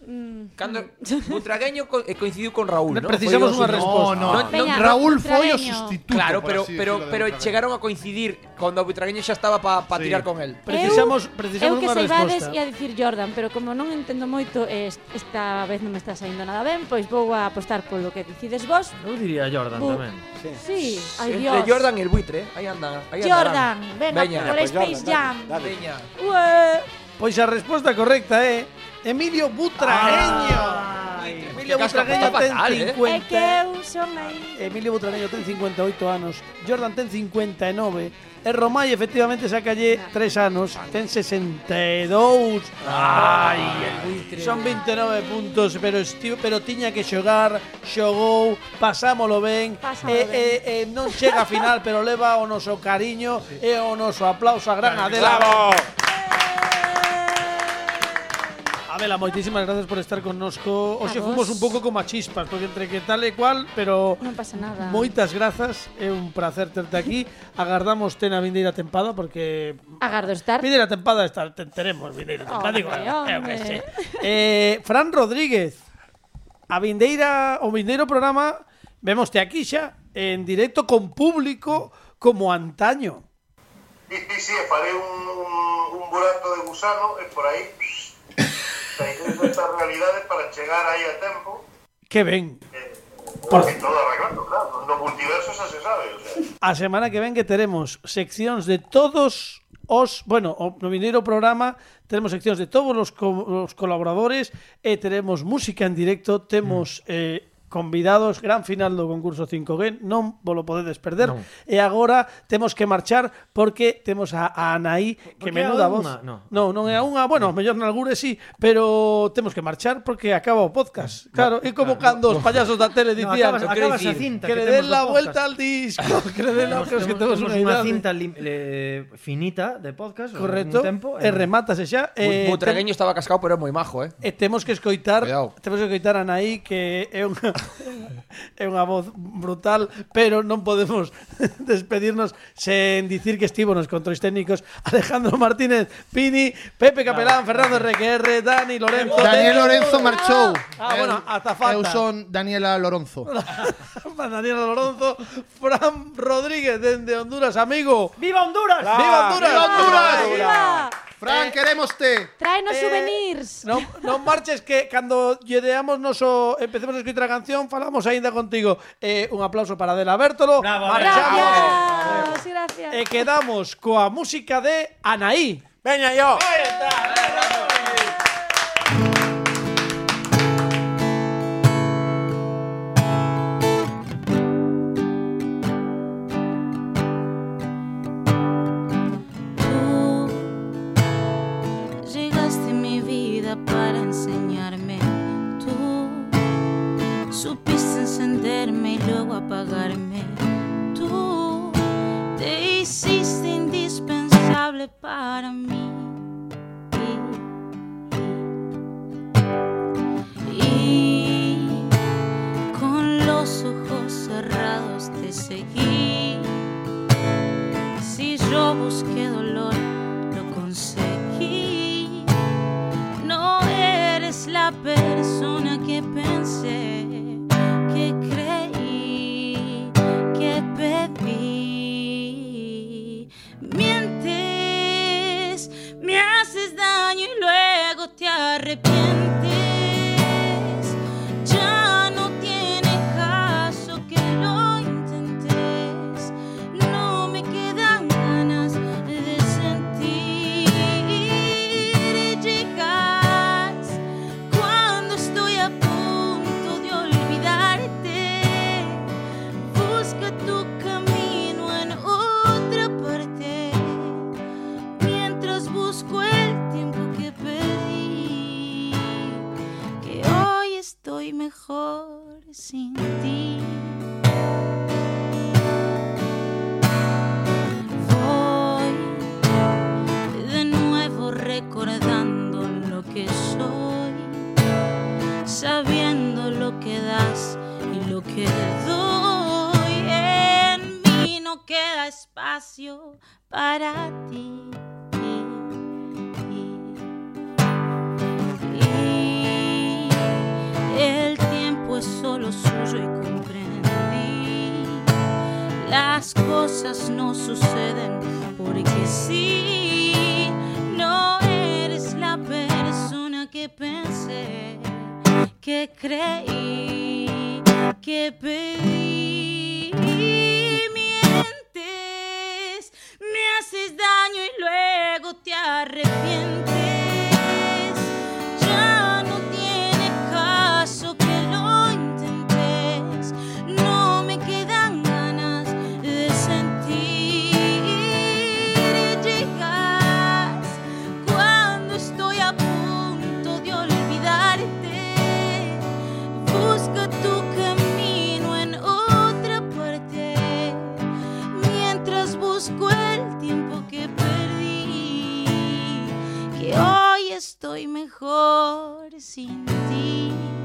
S4: Mm.
S6: Cando Butragueño co e coincidiu con Raúl, non?
S2: Precisamos
S6: Foi o
S2: unha
S6: segundo.
S2: resposta.
S3: No, no,
S4: Veña,
S3: Raúl foi o
S4: Butragueño.
S3: sustituto.
S6: Claro,
S3: por
S6: pero
S3: así
S6: pero
S3: decirlo, de
S6: pero
S3: Butragueño.
S6: chegaron a coincidir cando Butragueño xa estaba para pa
S3: Sí.
S6: tirar con él.
S2: Precisamos,
S4: Eu
S2: precisamos
S4: que
S2: unha
S4: saibades
S2: resposta.
S4: e a dicir Jordan, pero como non entendo moito eh, esta vez non me está saindo nada ben, pois vou a apostar polo que decides vos.
S5: Eu diría Jordan
S4: Bu-
S5: tamén.
S4: Sí, ai
S6: Entre
S4: Dios.
S6: Jordan e el buitre, eh. aí andan, aí
S4: Jordan,
S6: andarán.
S4: venga,
S6: Veña,
S4: por
S9: Pois
S4: Space Jam.
S9: Pues Jordan, dale, dale.
S6: Veña.
S4: Ué.
S2: Pois a resposta Pues correcta é Emilio
S9: Ah.
S2: ¿eh? Butragueño. Emilio
S6: que
S2: Butragueño
S6: casca está
S2: ten
S6: fatal, eh.
S4: É
S2: 50.
S4: que eu son aí.
S2: Emilio Butragueño ten 58 anos, Jordan ten 59, e Romay efectivamente sacalle
S4: Ah.
S2: 3 anos, ten 62. Ai, son 29 puntos, pero estiu, pero tiña que xogar, xogou, pasámolo ben,
S4: Pasámolo
S2: e, e,
S4: ben.
S2: e non chega a final, pero leva o noso cariño e o noso aplauso a gran Adela.
S9: Bravo.
S2: Abela, moitísimas gracias por estar connosco. Oxe
S4: A vos.
S2: fomos un pouco como a chispas, porque entre que tal e cual, pero
S4: Non pasa nada.
S2: moitas grazas, é un placer terte aquí. Agardamos ten a vindeira tempada porque
S4: Agardo estar.
S2: vindeira tempada estar, te teremos vindeira tempada, digo,
S4: Hombre,
S2: eu que
S4: hombre.
S2: sei. Eh, Fran Rodríguez, a vindeira o vindeiro programa vemoste aquí xa en directo con público como antaño.
S8: Sí, sí, sí, e farei un, un, un burato de gusano e por
S9: <laughs>
S8: aí sairei desta realidade para chegar aí a tempo
S2: Que ben.
S8: Por... e todo arreglando, claro, no multiverso xa se sabe, o sea.
S2: A semana que ven que teremos seccións de todos os, bueno, o, no vindeiro programa teremos seccións de todos os, co, os colaboradores e teremos música en directo, temos mm. eh, convidados, gran final do concurso 5G, non vos lo podedes perder.
S5: Non.
S2: E agora temos que marchar porque temos a, a Anaí que
S5: Porque
S2: menuda
S5: é a
S2: voz.
S5: unha, no.
S2: non, non é a unha, bueno, mellor nalgure sí, pero temos que marchar porque acaba o podcast. Claro, é como cando os payasos da tele
S5: No,
S2: dicían,
S5: acabas-
S2: "Eu quero
S5: acabas a
S2: dicir,
S5: cinta
S2: que,
S5: que
S2: le
S5: temos
S2: den
S5: do
S2: la
S5: podcast".
S2: vuelta al disco, <laughs> que le den la, que os que temos unha idade.
S5: cinta lim- eh, finita de podcast.
S2: Correcto.
S5: Un tempo,
S2: e remátase xa. Eh, tem-
S6: Eh, Butragueño estaba cascado, pero é moi majo, eh.
S2: E temos que escoitar,
S6: Cuidao.
S2: temos que escoitar a Anaí que é unha <laughs> é unha voz brutal, pero non podemos <laughs> despedirnos sen dicir que estivo nos controis técnicos Alejandro Martínez, Pini, Pepe Capelán, Fernando RQR, Dani Lorenzo.
S3: Daniel
S2: Terio.
S3: Lorenzo marchou.
S2: Ah, bueno, ata falta.
S3: Eu son Daniela Lorenzo.
S2: Ah, Daniel Lorenzo, Fran Rodríguez dende Honduras, amigo.
S5: ¡Viva Honduras!
S2: Viva Honduras.
S3: ¡Viva Honduras!
S4: Viva!
S3: Fran, queremos te.
S4: Traenos
S2: Eh,
S4: souvenirs.
S2: Non, non marches que cando lledeamos noso empecemos a escribir a canción falamos aínda contigo. Eh, un aplauso para Adela Bertolo.
S5: Bravo,
S2: Marchamos.
S4: Gracias, gracias.
S2: E quedamos coa música de Anaí.
S9: Veña yo.
S10: Tú llegaste a mi vida para enseñarme. Tú supiste encenderme y luego apagarme. Tú te hiciste indispensable para mí. Y con los ojos cerrados te seguí. Si yo busqué dolor, lo conseguí. No eres la persona que pensé, que creí, que pedí. Mientes, me haces daño y luego te arrepientes. Ya no tiene caso que lo intentes. No me quedan ganas de sentir. Y llegas cuando estoy a punto de olvidarte. Busca tu camino en otra parte. Mientras busco el tiempo que pedí. Que hoy estoy mejor sin ti. Voy de nuevo recordando lo que soy, sabiendo lo que das y lo que doy. En mí no queda espacio para ti. Y el tiempo es solo suyo y comprendí las cosas no suceden porque sí. No eres la persona que pensé, que creí, que pedí. Mientes, me haces daño y luego te arrepientes. Ya no tiene caso que lo intentes. No me quedan ganas de sentir. Llegas cuando estoy a punto de olvidarte. Busca tu camino en otra parte. Mientras busco el tiempo que perdí. Que hoy estoy mejor sin ti.